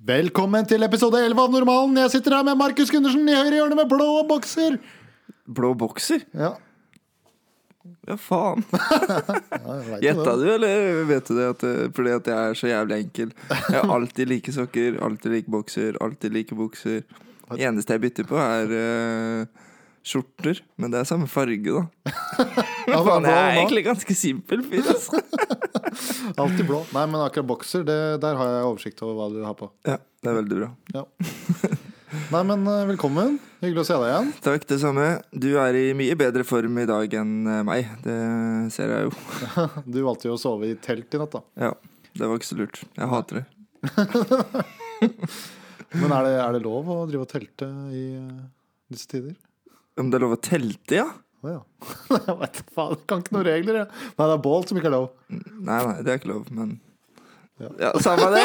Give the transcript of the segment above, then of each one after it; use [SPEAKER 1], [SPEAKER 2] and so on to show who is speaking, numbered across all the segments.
[SPEAKER 1] Velkommen til episode 11 av Normalen. Jeg sitter her med Markus Gundersen i høyre hjørne med blå bokser.
[SPEAKER 2] Blå bokser?
[SPEAKER 1] Ja,
[SPEAKER 2] Ja, faen.
[SPEAKER 1] jeg vet jo
[SPEAKER 2] Gjetta
[SPEAKER 1] det.
[SPEAKER 2] du, eller vet du det? At, det- fordi at jeg er så jævlig enkel. Jeg har alltid like sokker, alltid like bokser, alltid like bukser. Det eneste jeg bytter på, er eh, skjorter. Men det er samme farge, da.
[SPEAKER 1] Ja,
[SPEAKER 2] Faen, jeg
[SPEAKER 1] blå nå.
[SPEAKER 2] er egentlig ganske simpel fyr, altså.
[SPEAKER 1] Alltid blå. Nei, men akkurat bokser, det, der har jeg oversikt over hva du har på.
[SPEAKER 2] Ja, det er veldig bra.
[SPEAKER 1] Ja. Nei, men eh, velkommen. Hyggelig å se deg igjen.
[SPEAKER 2] Takk, det samme. Du er i mye bedre form i dag enn eh, meg. Det ser jeg jo.
[SPEAKER 1] Du valgte jo å sove i telt i natt, da.
[SPEAKER 2] Ja, det var ikke så lurt. Jeg hater det.
[SPEAKER 1] Men er det, er det lov å drive og telte i eh, disse tider?
[SPEAKER 2] Om det er lov å telte, ja?
[SPEAKER 1] Å ja. Jeg vet da faen. Kan ikke noen regler, jeg. Nei, det er Bolt som ikke er lov.
[SPEAKER 2] Nei, nei, det er ikke lov, men
[SPEAKER 1] Ja.
[SPEAKER 2] Ja, samme det!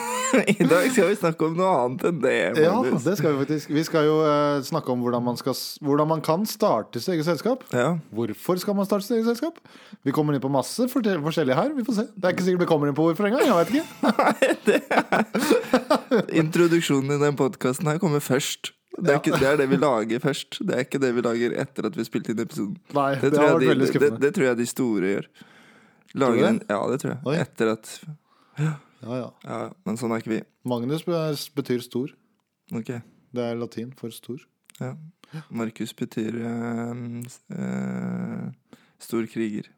[SPEAKER 2] I dag skal vi snakke om noe annet enn det.
[SPEAKER 1] Ja,
[SPEAKER 2] Magnus.
[SPEAKER 1] det skal vi faktisk. Vi skal jo eh, snakke om hvordan man, skal, s- hvordan man kan starte sitt eget selskap.
[SPEAKER 2] ja.
[SPEAKER 1] Hvorfor skal man starte sitt eget selskap? Vi kommer inn på masse fortel- forskjellig her. Vi får se. Det er ikke sikkert vi kommer inn på hvorfor engang. Jeg vet ikke.
[SPEAKER 2] Introduksjonen i den podkasten her kommer først. Det er, ikke, det er det vi lager først. Det er ikke det vi lager etter at vi spilte inn episoden.
[SPEAKER 1] Nei, det,
[SPEAKER 2] tror
[SPEAKER 1] har
[SPEAKER 2] jeg
[SPEAKER 1] vært veldig
[SPEAKER 2] de, det,
[SPEAKER 1] skuffende.
[SPEAKER 2] det tror jeg de store gjør.
[SPEAKER 1] Tror du
[SPEAKER 2] Lager en,
[SPEAKER 1] det?
[SPEAKER 2] ja, det tror jeg.
[SPEAKER 1] Oi.
[SPEAKER 2] Etter at
[SPEAKER 1] Ja, ja.
[SPEAKER 2] Ja, men sånn er ikke vi.
[SPEAKER 1] Magnus be- betyr stor.
[SPEAKER 2] Ok.
[SPEAKER 1] Det er latin for stor.
[SPEAKER 2] Ja. Markus betyr eh, s- eh, stor kriger.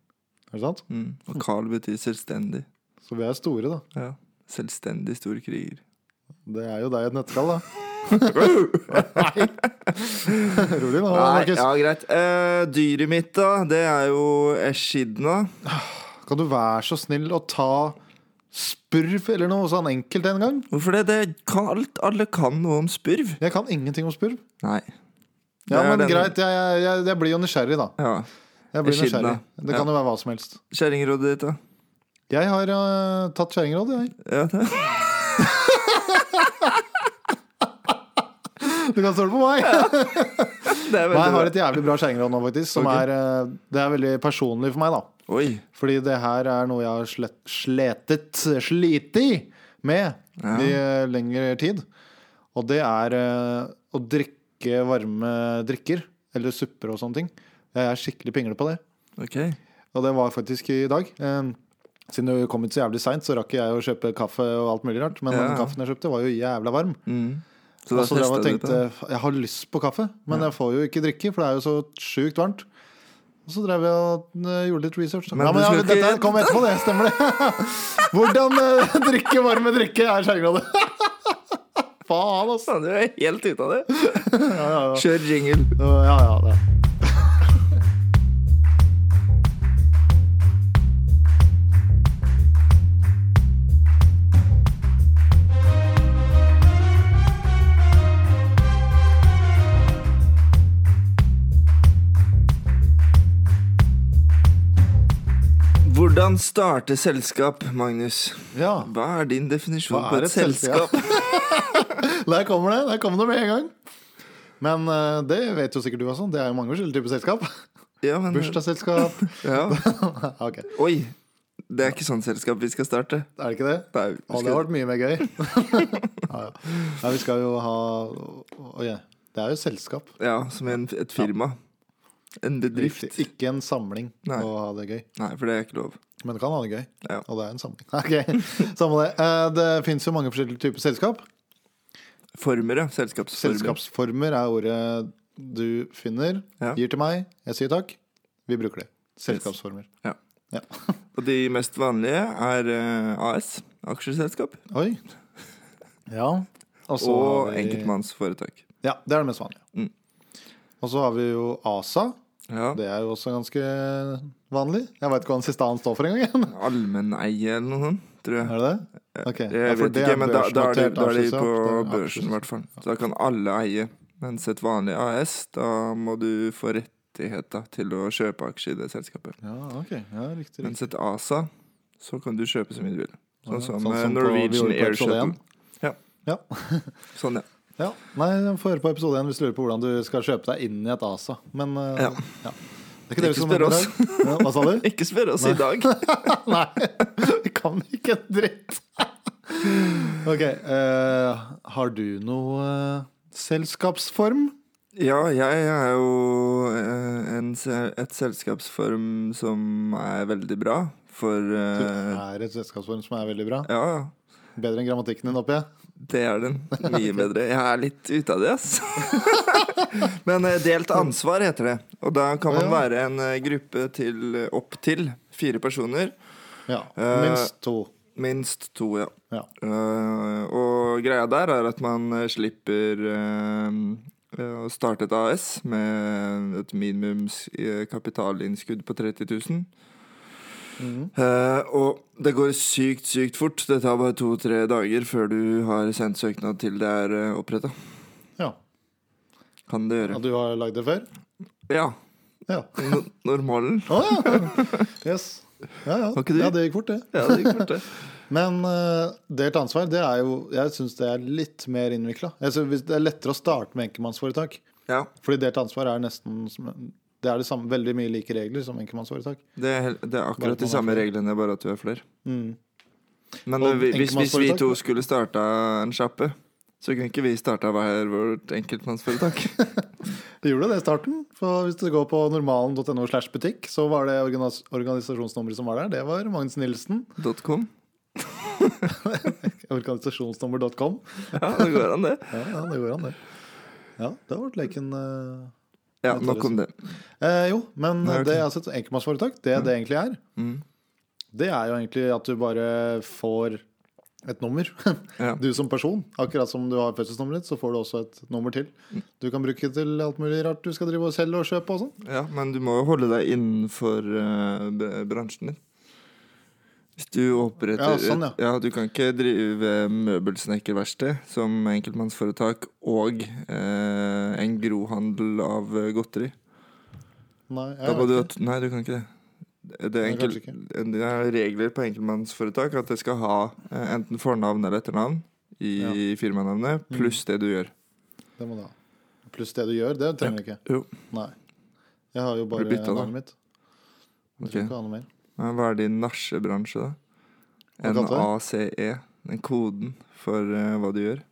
[SPEAKER 1] Er det sant?
[SPEAKER 2] Mm. Og Carl betyr selvstendig.
[SPEAKER 1] Så vi er store, da.
[SPEAKER 2] Ja. Selvstendig stor kriger.
[SPEAKER 1] Det er jo deg i et nøtteskall, da. Nei. Rolig nå,
[SPEAKER 2] Nei,
[SPEAKER 1] Markus.
[SPEAKER 2] ja, greit. Eh, dyret mitt, da, det er jo echidna.
[SPEAKER 1] Kan du være så snill å ta spurv eller noe sånn enkelt en gang?
[SPEAKER 2] Hvorfor det? det kan, alt, alle kan noe om spurv.
[SPEAKER 1] Jeg kan ingenting om spurv.
[SPEAKER 2] Nei. Det
[SPEAKER 1] Ja,
[SPEAKER 2] er
[SPEAKER 1] men
[SPEAKER 2] den-
[SPEAKER 1] greit, jeg, jeg, jeg, jeg blir jo nysgjerrig, da.
[SPEAKER 2] Ja.
[SPEAKER 1] Jeg blir
[SPEAKER 2] Jeg skidder,
[SPEAKER 1] nysgjerrig.
[SPEAKER 2] da.
[SPEAKER 1] Det kan jo være hva som helst.
[SPEAKER 2] Kjerringrådet ditt, da?
[SPEAKER 1] Jeg har eh, tatt kjerringråd, jeg.
[SPEAKER 2] Ja, det.
[SPEAKER 1] Du kan stole på meg.
[SPEAKER 2] det er
[SPEAKER 1] Nei, jeg
[SPEAKER 2] veldig
[SPEAKER 1] har
[SPEAKER 2] bra.
[SPEAKER 1] et jævlig bra skjengråd nå, faktisk. Som
[SPEAKER 2] Ok.
[SPEAKER 1] er, eh, det er veldig personlig for meg, da.
[SPEAKER 2] Oi.
[SPEAKER 1] Fordi det her er noe jeg har slet, sletet Sliti med
[SPEAKER 2] Ja.
[SPEAKER 1] i eh, lengre tid. Og det er eh, å drikke varme drikker. Eller supper og sånne ting. Jeg er skikkelig pingle på det.
[SPEAKER 2] Ok.
[SPEAKER 1] Og det var faktisk i dag. Eh, Siden du kom hit så jævlig seint, så rakk jeg å kjøpe kaffe og alt mulig rart. Men
[SPEAKER 2] Ja.
[SPEAKER 1] den kaffen jeg kjøpte, var jo jævla varm.
[SPEAKER 2] Mm. Så
[SPEAKER 1] Og Så drev jeg og
[SPEAKER 2] testet du
[SPEAKER 1] tenkte jeg har lyst på kaffe, men jeg får jo ikke drikke, for det er jo så sjukt varmt. Og så drev jeg og eh, gjorde litt research. da.
[SPEAKER 2] Men
[SPEAKER 1] ja,
[SPEAKER 2] du
[SPEAKER 1] men ja,
[SPEAKER 2] skal ikke-
[SPEAKER 1] Dette her kom etterpå, det. Stemmer det. Hvordan eh, drikke varme drikke er skjærgradet. Faen, altså.
[SPEAKER 2] Faen, Du er helt ute av det. Kjør jingle.
[SPEAKER 1] Ja, ja, det.
[SPEAKER 2] Hvordan starte selskap, Magnus?
[SPEAKER 1] ja.
[SPEAKER 2] Hva er din definisjon
[SPEAKER 1] Hva
[SPEAKER 2] på
[SPEAKER 1] er et
[SPEAKER 2] et
[SPEAKER 1] selskap?
[SPEAKER 2] selskap?
[SPEAKER 1] Der kommer det. Der kom det med en gang. Men eh, det vet jo sikkert du også. Det er jo mange forskjellige typer selskap.
[SPEAKER 2] Ja, men,
[SPEAKER 1] Bursdagsselskap.
[SPEAKER 2] ja.
[SPEAKER 1] Ok,
[SPEAKER 2] Oi. Det er ikke sånn selskap vi skal starte.
[SPEAKER 1] er det ikke det?
[SPEAKER 2] Nei,
[SPEAKER 1] Å,
[SPEAKER 2] vi
[SPEAKER 1] det
[SPEAKER 2] skal-
[SPEAKER 1] har vært mye mer gøy. ja, ja. Nei, vi skal jo ha å, ja. Det er jo selskap.
[SPEAKER 2] Ja, som en, et firma. En bedrift.
[SPEAKER 1] Riktig. Ikke en samling
[SPEAKER 2] Nei.
[SPEAKER 1] å ha det gøy.
[SPEAKER 2] Nei, for det er ikke lov.
[SPEAKER 1] Men du kan ha det gøy.
[SPEAKER 2] Ja.
[SPEAKER 1] Og det er en samling. Ok, Samme det. Eh, Det fins jo mange forskjellige typer selskap.
[SPEAKER 2] Former, ja. Selskapsformer.
[SPEAKER 1] Selskapsformer er ordet du finner,
[SPEAKER 2] Ja.
[SPEAKER 1] gir til meg, jeg sier takk. Vi bruker det. Selskapsformer.
[SPEAKER 2] Ja.
[SPEAKER 1] Ja.
[SPEAKER 2] Og de mest vanlige er eh, AS, aksjeselskap,
[SPEAKER 1] Oi. Ja. Og så har
[SPEAKER 2] og
[SPEAKER 1] vi-
[SPEAKER 2] enkeltmannsforetak.
[SPEAKER 1] Ja, det er det mest vanlige.
[SPEAKER 2] Mm.
[SPEAKER 1] Og så har vi jo ASA.
[SPEAKER 2] Ja.
[SPEAKER 1] Det er jo også ganske vanlig. Jeg veit ikke hva den siste han står for engang.
[SPEAKER 2] Allmenneie eller noe sånt, tror jeg.
[SPEAKER 1] Er det det? Ok.
[SPEAKER 2] Jeg
[SPEAKER 1] Ja, for
[SPEAKER 2] vet
[SPEAKER 1] det
[SPEAKER 2] ikke,
[SPEAKER 1] er
[SPEAKER 2] men da, da, er de,
[SPEAKER 1] børsnotert
[SPEAKER 2] da er de
[SPEAKER 1] aksjeselskap. Det er en
[SPEAKER 2] på børsen, i
[SPEAKER 1] aksjeselskap.
[SPEAKER 2] hvert fall. Så da kan alle eie. Mens et vanlig AS, da må du få rettigheter til å kjøpe aksjer i det selskapet.
[SPEAKER 1] Ja, ok. Ja, riktig. riktig.
[SPEAKER 2] Mens et ASA, så kan du kjøpe så mye du vil.
[SPEAKER 1] Ja,
[SPEAKER 2] Sånn som,
[SPEAKER 1] sånn
[SPEAKER 2] eh,
[SPEAKER 1] som på- vi
[SPEAKER 2] Norwegian
[SPEAKER 1] gjorde på
[SPEAKER 2] Air
[SPEAKER 1] episode
[SPEAKER 2] Shuttle.
[SPEAKER 1] én.
[SPEAKER 2] Ja.
[SPEAKER 1] Ja.
[SPEAKER 2] Sånn, ja.
[SPEAKER 1] ja. Nei, du får høre på episode 1 hvis du lurer på hvordan du skal kjøpe deg inn i et ASA. Men eh,
[SPEAKER 2] Ja.
[SPEAKER 1] ja. Det er ikke det
[SPEAKER 2] Ikke
[SPEAKER 1] vi skal
[SPEAKER 2] spør
[SPEAKER 1] snakke om i dag. Ja, Hva sa du?
[SPEAKER 2] Ikke spør oss i dag.
[SPEAKER 1] Nei, vi kan ikke en dritt. Ok, eh, har du noe eh, selskapsform?
[SPEAKER 2] Ja, jeg er jo eh, en, se- et selskapsform som er veldig bra for
[SPEAKER 1] Du
[SPEAKER 2] eh,
[SPEAKER 1] er et selskapsform som er veldig bra.
[SPEAKER 2] Ja, ja.
[SPEAKER 1] Bedre enn grammatikken din, håper jeg.
[SPEAKER 2] Det er den. Mye bedre. Jeg er litt ute av det, ass. Men eh, delt ansvar heter det. Og da kan man
[SPEAKER 1] Ja.
[SPEAKER 2] være en eh, gruppe til eh, opp til fire personer.
[SPEAKER 1] Ja,
[SPEAKER 2] Eh,
[SPEAKER 1] Minst to.
[SPEAKER 2] Minst to, ja.
[SPEAKER 1] Ja.
[SPEAKER 2] Eh, og greia der er at man eh, slipper eh, eh, å starte et AS med et minimums eh, kapitalinnskudd på 30 000.
[SPEAKER 1] Mhm.
[SPEAKER 2] Eh, og det går sykt, sykt fort. Det tar bare to-tre dager før du har sendt søknad til det er uh, oppretta.
[SPEAKER 1] Ja.
[SPEAKER 2] Kan det
[SPEAKER 1] ja.
[SPEAKER 2] gjøre.
[SPEAKER 1] Du har lagd det før?
[SPEAKER 2] Ja.
[SPEAKER 1] Ja.
[SPEAKER 2] no- Normalen.
[SPEAKER 1] Å ja! Yes. Ja, ja.
[SPEAKER 2] Var ikke du?
[SPEAKER 1] ja, det gikk fort, det.
[SPEAKER 2] Ja, det gikk fort, det.
[SPEAKER 1] Men eh, delt ansvar, det er jo Jeg syns det er litt mer innvikla. Det er lettere å starte med enkeltmannsforetak.
[SPEAKER 2] Ja,
[SPEAKER 1] Fordi delt ansvar er nesten som- Det er det samme, veldig mye like regler som enkeltmannsforetak.
[SPEAKER 2] det er, hel- det er
[SPEAKER 1] Bare
[SPEAKER 2] akkurat
[SPEAKER 1] at
[SPEAKER 2] de
[SPEAKER 1] man
[SPEAKER 2] samme
[SPEAKER 1] har flere.
[SPEAKER 2] reglene, bare at du er flere.
[SPEAKER 1] Mm.
[SPEAKER 2] Men
[SPEAKER 1] Og
[SPEAKER 2] eh, vi- hvis, hvis vi
[SPEAKER 1] enkeltmannsforetak?
[SPEAKER 2] to skulle starta en sjappe, så kunne ikke vi starta hver vårt enkeltmannsforetak.
[SPEAKER 1] Det gjorde det i starten. For hvis du går på normalen.no slash butikk, så var det organis organisasjonsnummeret som var der. Det var Magnus Nilsen.
[SPEAKER 2] Dot .com.
[SPEAKER 1] Organisasjonsnummer.com.
[SPEAKER 2] Ja, det går an, det.
[SPEAKER 1] Ja, ja, det går an, det. Ja, det har vært leken eh,
[SPEAKER 2] Ja, nok om det.
[SPEAKER 1] Eh, jo, men
[SPEAKER 2] Nei, ok.
[SPEAKER 1] det jeg har sett enkeltmannsforetak, det det egentlig er,
[SPEAKER 2] Mm.
[SPEAKER 1] det er jo egentlig at du bare får et nummer.
[SPEAKER 2] Ja.
[SPEAKER 1] Du som person. Akkurat som du har fødselsnummeret ditt, så får du også et nummer til.
[SPEAKER 2] Mm.
[SPEAKER 1] Du kan bruke til alt mulig rart du skal drive og selge og kjøpe og sånn.
[SPEAKER 2] Ja, men du må jo holde deg innenfor eh, br- bransjen din. Hvis du oppretter
[SPEAKER 1] Ja, sånn, ja.
[SPEAKER 2] et- du kan ikke drive møbelsnekkerverksted som enkeltmannsforetak og eh, en grohandel av eh, godteri.
[SPEAKER 1] Nei,
[SPEAKER 2] Da
[SPEAKER 1] jeg
[SPEAKER 2] må du,
[SPEAKER 1] vet ikke.
[SPEAKER 2] nei, du kan ikke det. Det er,
[SPEAKER 1] Nei,
[SPEAKER 2] enkel,
[SPEAKER 1] kanskje
[SPEAKER 2] det er regler på enkeltmannsforetak at det skal ha eh, enten fornavn eller etternavn i
[SPEAKER 1] Mm.
[SPEAKER 2] firmanavnet, pluss det du gjør.
[SPEAKER 1] det må du ha. Pluss det du gjør, det trenger du ikke.
[SPEAKER 2] Jo.
[SPEAKER 1] Nei. Jeg har jo
[SPEAKER 2] Har
[SPEAKER 1] bare
[SPEAKER 2] du byttet, da?
[SPEAKER 1] navnet mitt. Jeg
[SPEAKER 2] Ok.
[SPEAKER 1] trenger ikke ha noe mer.
[SPEAKER 2] Men Hva er din nasjebransje, da?
[SPEAKER 1] Hva kalte du det?
[SPEAKER 2] NACE. E. Den koden for eh, hva du gjør.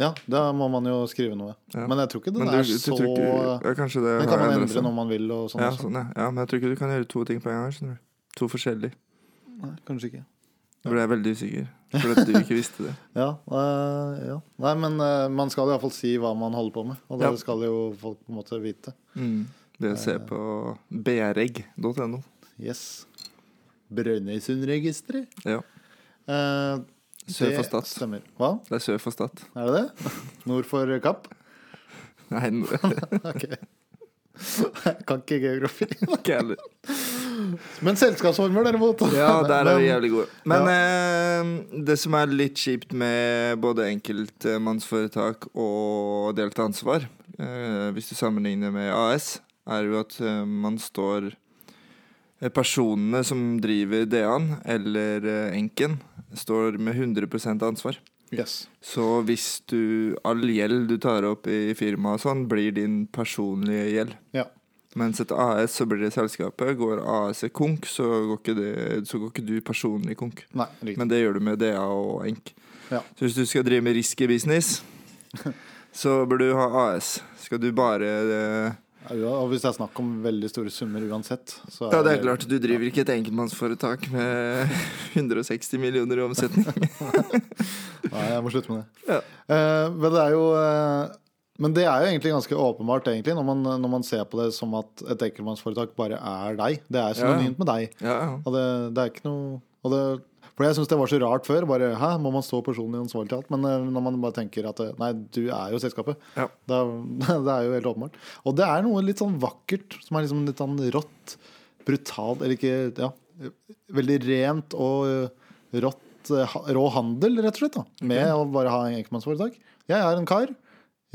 [SPEAKER 1] Ja, da må man jo skrive noe.
[SPEAKER 2] Ja.
[SPEAKER 1] Men jeg tror ikke den
[SPEAKER 2] Men
[SPEAKER 1] er
[SPEAKER 2] du- du
[SPEAKER 1] så
[SPEAKER 2] tror ikke- ja, Kanskje det
[SPEAKER 1] Den kan
[SPEAKER 2] har
[SPEAKER 1] man
[SPEAKER 2] endret
[SPEAKER 1] endre
[SPEAKER 2] seg.
[SPEAKER 1] når man vil og sånn.
[SPEAKER 2] Ja,
[SPEAKER 1] også.
[SPEAKER 2] sånn, ja. ja, men jeg tror ikke du kan gjøre to ting på en gang. skjønner du To forskjellige.
[SPEAKER 1] Nei, kanskje ikke.
[SPEAKER 2] Da ble jeg veldig usikker. For at du ikke visste det.
[SPEAKER 1] Ja, eh, ja. Nei, men eh, man skal iallfall si hva man holder på med. Og det
[SPEAKER 2] Ja.
[SPEAKER 1] skal jo folk på en måte vite.
[SPEAKER 2] Mm. Det å se på bregg.no.
[SPEAKER 1] Yes. Brønnøysundregisteret.
[SPEAKER 2] Ja.
[SPEAKER 1] Eh,
[SPEAKER 2] Sør for Stad.
[SPEAKER 1] Det stemmer. Hva?
[SPEAKER 2] Det er sør for Stad.
[SPEAKER 1] Er det det? Nord for Kapp?
[SPEAKER 2] Nei, n-
[SPEAKER 1] Ok. Jeg kan ikke geografi.
[SPEAKER 2] ikke heller.
[SPEAKER 1] Men selskapsformer, derimot.
[SPEAKER 2] Ja, der er vi
[SPEAKER 1] Men-
[SPEAKER 2] jævlig gode. Men eh, det som er litt kjipt med både enkeltmannsforetak og delt ansvar, eh, hvis du sammenligner med AS, er jo at eh, man står eh, Personene som driver DA-en, eller eh, Enken, står med 100 ansvar.
[SPEAKER 1] Yes.
[SPEAKER 2] Så hvis du All gjeld du tar opp i firmaet og sånn, blir din personlige gjeld.
[SPEAKER 1] Ja.
[SPEAKER 2] Mens et AS så blir det selskapet. Går AS-et konk, så går, ikke det, så går ikke du personlig konk.
[SPEAKER 1] Nei, riktig.
[SPEAKER 2] Men det gjør du med DA og ENK.
[SPEAKER 1] Ja.
[SPEAKER 2] Så hvis du skal drive med risky business, så bør du ha AS. Skal du bare eh,
[SPEAKER 1] Ja, og hvis det er snakk om veldig store summer uansett, så
[SPEAKER 2] Ja, det er klart, du driver ikke et enkeltmannsforetak med 160 millioner i omsetning.
[SPEAKER 1] Nei, jeg må slutte med det.
[SPEAKER 2] Ja.
[SPEAKER 1] Eh, men, det er jo, eh, men det er jo egentlig ganske åpenbart, egentlig, når man, når man ser på det som at et enkeltmannsforetak bare er deg. Det er
[SPEAKER 2] Ja, ja.
[SPEAKER 1] synonymt med deg.
[SPEAKER 2] Ja, ja.
[SPEAKER 1] Og det, det er ikke noe og det, For jeg syns det var så rart før. Bare, Hæ, må man stå personlig ansvarlig til alt? Men eh, når man bare tenker at eh, nei, du er jo selskapet.
[SPEAKER 2] Ja.
[SPEAKER 1] Det, er, det er jo helt åpenbart. Og det er noe litt sånn vakkert, som er liksom litt sånn rått, brutalt, eller ikke Ja, veldig rent og eh, rått eh, ha- Rå handel, rett og slett, da, med å bare ha en enkeltmannsforetak. Jeg er en kar.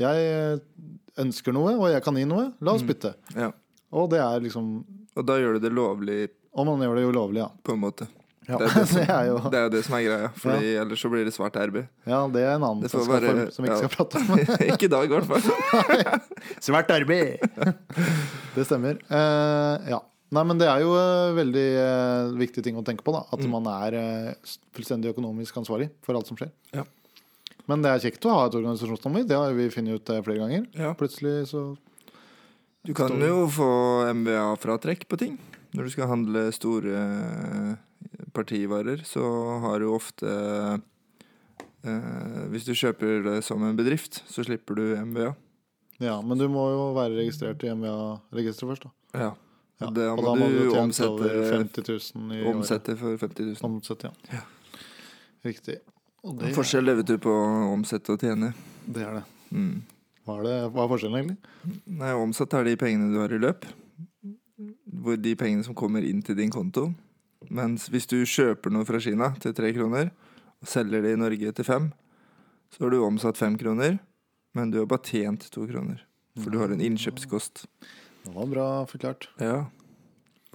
[SPEAKER 1] Jeg eh, ønsker noe, og jeg kan gi noe. La
[SPEAKER 2] Mm.
[SPEAKER 1] oss bytte.
[SPEAKER 2] ja.
[SPEAKER 1] Og det er liksom
[SPEAKER 2] Og da gjør du det lovlig,
[SPEAKER 1] Og man gjør det jo lovlig, ja.
[SPEAKER 2] på en måte.
[SPEAKER 1] Ja,
[SPEAKER 2] Det
[SPEAKER 1] det er,
[SPEAKER 2] er det som-
[SPEAKER 1] jo,
[SPEAKER 2] Det er jo det som er greia, for ellers så blir det svart RB.
[SPEAKER 1] ja, det er en annen
[SPEAKER 2] Det får
[SPEAKER 1] selskapsform
[SPEAKER 2] være-
[SPEAKER 1] som vi ikke
[SPEAKER 2] ja.
[SPEAKER 1] skal prate om.
[SPEAKER 2] ikke i dag, i hvert fall.
[SPEAKER 1] Svært arbeid! det stemmer. Eh, ja. Nei, men det er jo eh, veldig eh, viktig ting å tenke på. da At
[SPEAKER 2] Mm.
[SPEAKER 1] man er eh, fullstendig økonomisk ansvarlig for alt som skjer.
[SPEAKER 2] Ja.
[SPEAKER 1] Men det er kjekt å ha et organisasjonsnummer. Det har vi funnet ut eh, flere ganger.
[SPEAKER 2] Ja.
[SPEAKER 1] Plutselig så
[SPEAKER 2] Du kan jo få MBA-fratrekk på ting. Når du skal handle store eh, partivarer, så har du ofte eh, Hvis du kjøper det som en bedrift, så slipper du MBA.
[SPEAKER 1] Ja, men du må jo være registrert i MVA-registeret først, da.
[SPEAKER 2] Ja.
[SPEAKER 1] Ja,
[SPEAKER 2] Det
[SPEAKER 1] og
[SPEAKER 2] må,
[SPEAKER 1] da
[SPEAKER 2] du,
[SPEAKER 1] tjent
[SPEAKER 2] omsette,
[SPEAKER 1] over 50 000 i året.
[SPEAKER 2] omsette for 50 000.
[SPEAKER 1] Omsett, ja.
[SPEAKER 2] Ja.
[SPEAKER 1] Riktig. Og det,
[SPEAKER 2] Forskjell lever du på å omsette og tjene.
[SPEAKER 1] det er det.
[SPEAKER 2] Mm.
[SPEAKER 1] Hva er, det. Hva er forskjellen, egentlig?
[SPEAKER 2] Nei, omsatt er de pengene du har i løp. Hvor de pengene som kommer inn til din konto. Mens hvis du kjøper noe fra Kina til tre kroner, og selger det i Norge til fem, så har du omsatt fem kroner, men du har bare tjent to kroner. For du har en innkjøpskost.
[SPEAKER 1] Det var bra forklart.
[SPEAKER 2] Ja.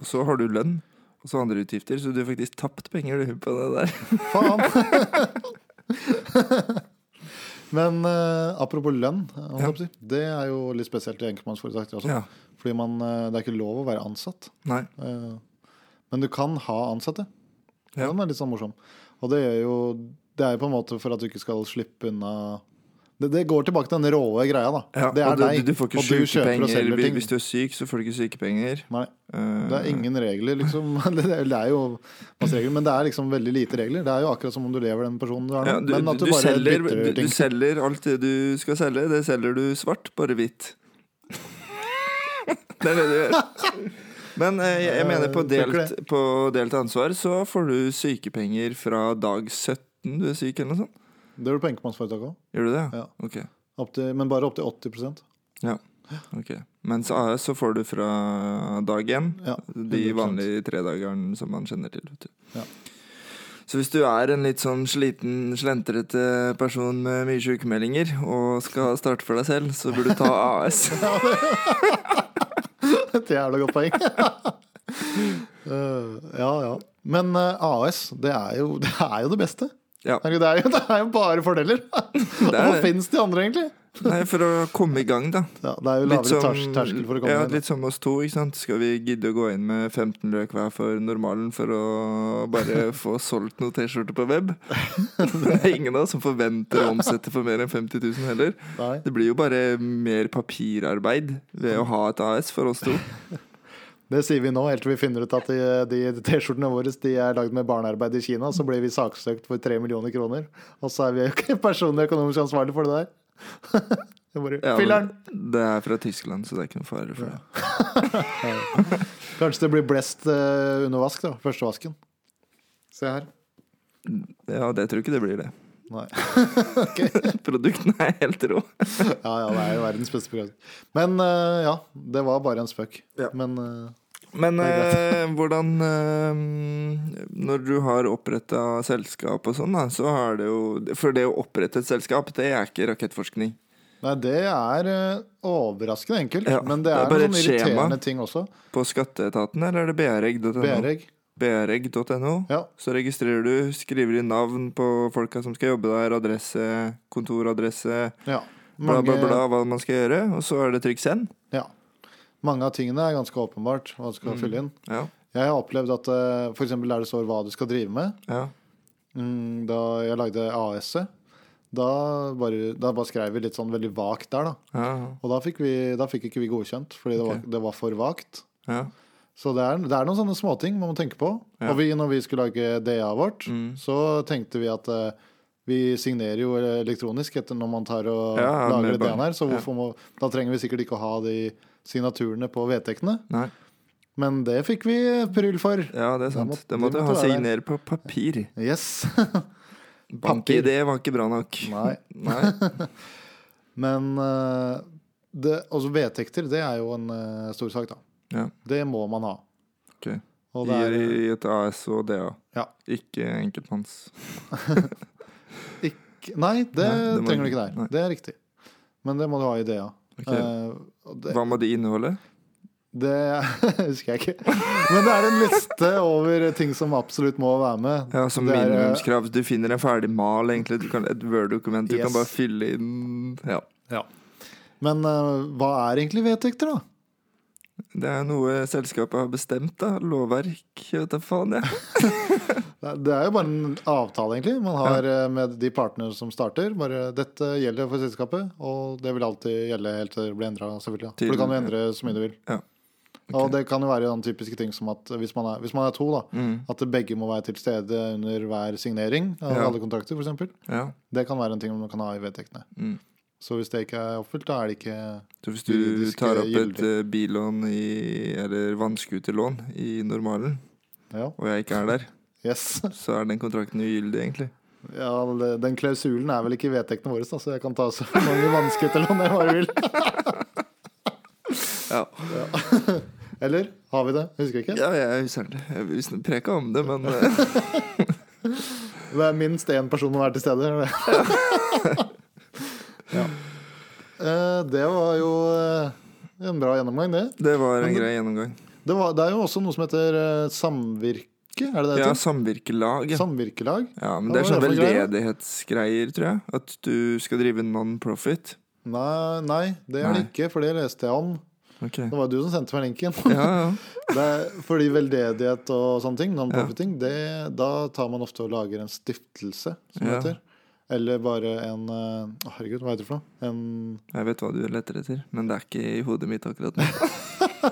[SPEAKER 2] Og så har du lønn, og så andre utgifter, så du har faktisk tapt penger du, på det der.
[SPEAKER 1] Faen! Men eh, apropos lønn, holdt jeg på å si, det er jo litt spesielt i enkeltmannsforetak. Også.
[SPEAKER 2] Ja.
[SPEAKER 1] Fordi man, eh, det er ikke lov å være ansatt.
[SPEAKER 2] Nei.
[SPEAKER 1] Eh, Men du kan ha ansatte.
[SPEAKER 2] Ja.
[SPEAKER 1] Den er litt sånn morsom. Og det gjør jo Det er jo på en måte for at du ikke skal slippe unna Det, det går tilbake til den råe greia, da.
[SPEAKER 2] Ja,
[SPEAKER 1] det er
[SPEAKER 2] og du,
[SPEAKER 1] deg.
[SPEAKER 2] du får ikke
[SPEAKER 1] og du kjøper og
[SPEAKER 2] sykepenger.
[SPEAKER 1] selger ting.
[SPEAKER 2] Hvis du er syk, så får du ikke sykepenger.
[SPEAKER 1] Nei,
[SPEAKER 2] Eh,
[SPEAKER 1] det er ingen regler, liksom. Det er det er jo masse regler, men det er liksom veldig lite regler. Det er jo akkurat som om du lever den personen du er nå.
[SPEAKER 2] Ja, du,
[SPEAKER 1] men at
[SPEAKER 2] du,
[SPEAKER 1] du,
[SPEAKER 2] du,
[SPEAKER 1] bare
[SPEAKER 2] selger,
[SPEAKER 1] bytter
[SPEAKER 2] du, du
[SPEAKER 1] ting.
[SPEAKER 2] selger alt det du skal selge. Det selger du svart, bare hvitt. Det er det du gjør. Men eh, jeg, jeg mener på
[SPEAKER 1] Ja, funker
[SPEAKER 2] delt, på delt ansvar så får du sykepenger fra dag 17 du er syk, eller noe sånt.
[SPEAKER 1] Det gjør du på enkeltmannsforetak òg.
[SPEAKER 2] Gjør du det?
[SPEAKER 1] Ja.
[SPEAKER 2] Ok.
[SPEAKER 1] Men bare opptil 80
[SPEAKER 2] Ja. Ok. Mens AS så får du fra dag én.
[SPEAKER 1] Ja,
[SPEAKER 2] de
[SPEAKER 1] 100%.
[SPEAKER 2] vanlige tredagene som man kjenner til. Vet du.
[SPEAKER 1] Ja.
[SPEAKER 2] Så hvis du er en litt sånn sliten, slentrete person med mye sykemeldinger og skal starte for deg selv, så burde du ta AS.
[SPEAKER 1] Et jævla godt poeng. Eh, ja, ja. Men eh, AS, det er, jo, det er jo det beste.
[SPEAKER 2] Ja.
[SPEAKER 1] Herregud, Det er jo, det er jo bare fordeler. Hva
[SPEAKER 2] det.
[SPEAKER 1] fins de andre, egentlig?
[SPEAKER 2] Nei, for å komme i gang, da.
[SPEAKER 1] Ja, det er jo lavere ters- terskel for å komme
[SPEAKER 2] ja,
[SPEAKER 1] inn.
[SPEAKER 2] litt som oss to. ikke sant? Skal vi gidde å gå inn med 15 løk hver for normalen for å bare få solgt noen T-skjorter på web? Det er ingen av oss som forventer å omsette for mer enn 50 000 heller.
[SPEAKER 1] Nei.
[SPEAKER 2] Det blir jo bare mer papirarbeid ved å ha et AS for oss to.
[SPEAKER 1] Det sier vi nå, helt til vi finner ut at de, de T-skjortene våre de er lagd med barnearbeid i Kina. Så blir vi saksøkt for tre millioner kroner. Og så er vi jo ikke personlig økonomisk ansvarlig for det der. Det er bare,
[SPEAKER 2] Ja, men
[SPEAKER 1] Filler'n!
[SPEAKER 2] det er fra Tyskland, så det er ikke noen fare for det.
[SPEAKER 1] Kanskje det blir blest eh, under vask, da. Første vasken. Se her.
[SPEAKER 2] Ja, det tror jeg ikke det blir det.
[SPEAKER 1] Nei.
[SPEAKER 2] Produktene er helt rå.
[SPEAKER 1] Ja, ja, det er jo verdens beste program. Men eh, ja, det var bare en spøk.
[SPEAKER 2] Ja.
[SPEAKER 1] Men eh,
[SPEAKER 2] Men
[SPEAKER 1] Det
[SPEAKER 2] eh, hvordan eh, Når du har oppretta selskap og sånn, da, så har det jo For det å opprette et selskap, det er ikke rakettforskning.
[SPEAKER 1] nei, det er eh, overraskende enkelt.
[SPEAKER 2] Ja,
[SPEAKER 1] men
[SPEAKER 2] det
[SPEAKER 1] det
[SPEAKER 2] er
[SPEAKER 1] er,
[SPEAKER 2] bare
[SPEAKER 1] noen
[SPEAKER 2] et skjema.
[SPEAKER 1] irriterende ting også.
[SPEAKER 2] På skatteetaten, eller er det breg.no?
[SPEAKER 1] Beregg.
[SPEAKER 2] breg.no.
[SPEAKER 1] Ja.
[SPEAKER 2] Så registrerer du, skriver inn navn på folka som skal jobbe der, adresse, kontoradresse,
[SPEAKER 1] ja.
[SPEAKER 2] bla, bla,
[SPEAKER 1] Mange-
[SPEAKER 2] bla, hva man skal gjøre. Og så er det trykk send.
[SPEAKER 1] Ja. Mange av tingene er ganske åpenbart hva du
[SPEAKER 2] Mm.
[SPEAKER 1] skal fylle inn.
[SPEAKER 2] Ja,
[SPEAKER 1] Jeg har opplevd at eh, for eksempel der det står hva du skal drive med,
[SPEAKER 2] ja.
[SPEAKER 1] mm, da jeg lagde AS-et, da bare, da bare skrev vi litt sånn veldig vagt der, da.
[SPEAKER 2] ja,
[SPEAKER 1] Og da fikk, vi, da fikk ikke vi godkjent, fordi det var, det var for vagt.
[SPEAKER 2] ja.
[SPEAKER 1] Så det er, det er noen sånne småting man må tenke på. Og vi, når vi skulle lage DA-et vårt,
[SPEAKER 2] Mm.
[SPEAKER 1] så tenkte vi at eh, vi signerer jo elektronisk etter når man tar og
[SPEAKER 2] Ja, med
[SPEAKER 1] lager
[SPEAKER 2] bank.
[SPEAKER 1] DA-en her, så hvorfor må, da trenger vi sikkert ikke å ha de signaturene på vedtektene.
[SPEAKER 2] Nei.
[SPEAKER 1] Men det fikk vi pryl for.
[SPEAKER 2] Ja, det er sant.
[SPEAKER 1] måtte-
[SPEAKER 2] Det
[SPEAKER 1] det
[SPEAKER 2] måtte
[SPEAKER 1] måtte
[SPEAKER 2] han
[SPEAKER 1] være der.
[SPEAKER 2] signere på papir.
[SPEAKER 1] Yes. Papir.
[SPEAKER 2] Bank-ID var ikke bra nok.
[SPEAKER 1] Nei.
[SPEAKER 2] Nei.
[SPEAKER 1] Men eh, det, også vedtekter, det er jo en eh, stor sak, da.
[SPEAKER 2] Ja,
[SPEAKER 1] Det må man ha.
[SPEAKER 2] ok.
[SPEAKER 1] Og
[SPEAKER 2] I,
[SPEAKER 1] det er
[SPEAKER 2] I et AS og DA.
[SPEAKER 1] Ja.
[SPEAKER 2] Ikke enkeltmanns.
[SPEAKER 1] ikke Nei, det,
[SPEAKER 2] Nei, det må-
[SPEAKER 1] trenger du ikke der.
[SPEAKER 2] nei.
[SPEAKER 1] Det er riktig. Men det må du ha i DA.
[SPEAKER 2] Ok.
[SPEAKER 1] Eh, og det,
[SPEAKER 2] Hva må de inneholde?
[SPEAKER 1] det husker jeg ikke. Men det er en liste over ting som absolutt må være med.
[SPEAKER 2] Ja, som
[SPEAKER 1] Det er, eh,
[SPEAKER 2] minimumskrav. Du finner en ferdig mal, egentlig. Du kan, et Word-dokument. Du
[SPEAKER 1] Yes.
[SPEAKER 2] kan bare fylle inn Ja.
[SPEAKER 1] Men eh, hva er egentlig vedtekter, da?
[SPEAKER 2] Det er noe selskapet har bestemt, da. Lovverk, jeg vet da faen, jeg.
[SPEAKER 1] Det det er jo bare en avtale egentlig man har eh, med de partene som starter. Bare dette gjelder for selskapet, og det vil alltid gjelde helt til det blir endra. For du kan jo
[SPEAKER 2] Til-
[SPEAKER 1] endre så mye du vil.
[SPEAKER 2] Ja.
[SPEAKER 1] Og det kan jo være en typiske ting som at hvis man er, hvis man er to, da, at begge må være til stede under hver signering av
[SPEAKER 2] Ja.
[SPEAKER 1] alle kontrakter, f.eks.
[SPEAKER 2] Ja.
[SPEAKER 1] Det kan være en ting man kan ha i vedtektene.
[SPEAKER 2] Mm.
[SPEAKER 1] Så hvis det ikke er oppfylt, da er det ikke
[SPEAKER 2] Så hvis du
[SPEAKER 1] Juridisk,
[SPEAKER 2] tar opp
[SPEAKER 1] gyldig.
[SPEAKER 2] et eh, billån i Eller vannskuterlån i normalen,
[SPEAKER 1] Ja.
[SPEAKER 2] og jeg ikke er der,
[SPEAKER 1] Yes.
[SPEAKER 2] så er den kontrakten ugyldig, egentlig.
[SPEAKER 1] Ja, det- den klausulen er vel ikke i vedtektene våre, da, så jeg kan ta så mange vannskudd eller noe jeg bare vil.
[SPEAKER 2] Ja,
[SPEAKER 1] Eller har vi det? Husker jeg ikke.
[SPEAKER 2] ja jeg husker det. Jeg visste preka om det, men eh,
[SPEAKER 1] Det er minst én person må være til stede. er det? ja. Eh, Det var jo eh, en bra gjennomgang, det.
[SPEAKER 2] det var
[SPEAKER 1] Men
[SPEAKER 2] en
[SPEAKER 1] det-
[SPEAKER 2] grei gjennomgang.
[SPEAKER 1] Det, var, det er jo også noe som heter eh, samvirke, er det det
[SPEAKER 2] Ja,
[SPEAKER 1] heter?
[SPEAKER 2] samvirkelag. Ja.
[SPEAKER 1] Samvirkelag.
[SPEAKER 2] Ja, men
[SPEAKER 1] Ja, hva
[SPEAKER 2] det er
[SPEAKER 1] er
[SPEAKER 2] sånn
[SPEAKER 1] det for greier,
[SPEAKER 2] veldedighetsgreier, tror jeg. At du skal drive non-profit.
[SPEAKER 1] Nei, nei, det er det
[SPEAKER 2] Nei.
[SPEAKER 1] ikke, for det leste jeg om.
[SPEAKER 2] Ok.
[SPEAKER 1] Det var jo du som sendte meg linken.
[SPEAKER 2] Ja, ja.
[SPEAKER 1] Det er, fordi veldedighet og sånne ting, non-profiting, det, da tar man ofte og lager en stiftelse, som det
[SPEAKER 2] Ja.
[SPEAKER 1] heter. Eller bare en eh, Å, herregud, hva heter det for noe? En
[SPEAKER 2] Jeg vet hva du leter etter, men det er ikke i hodet mitt akkurat nå.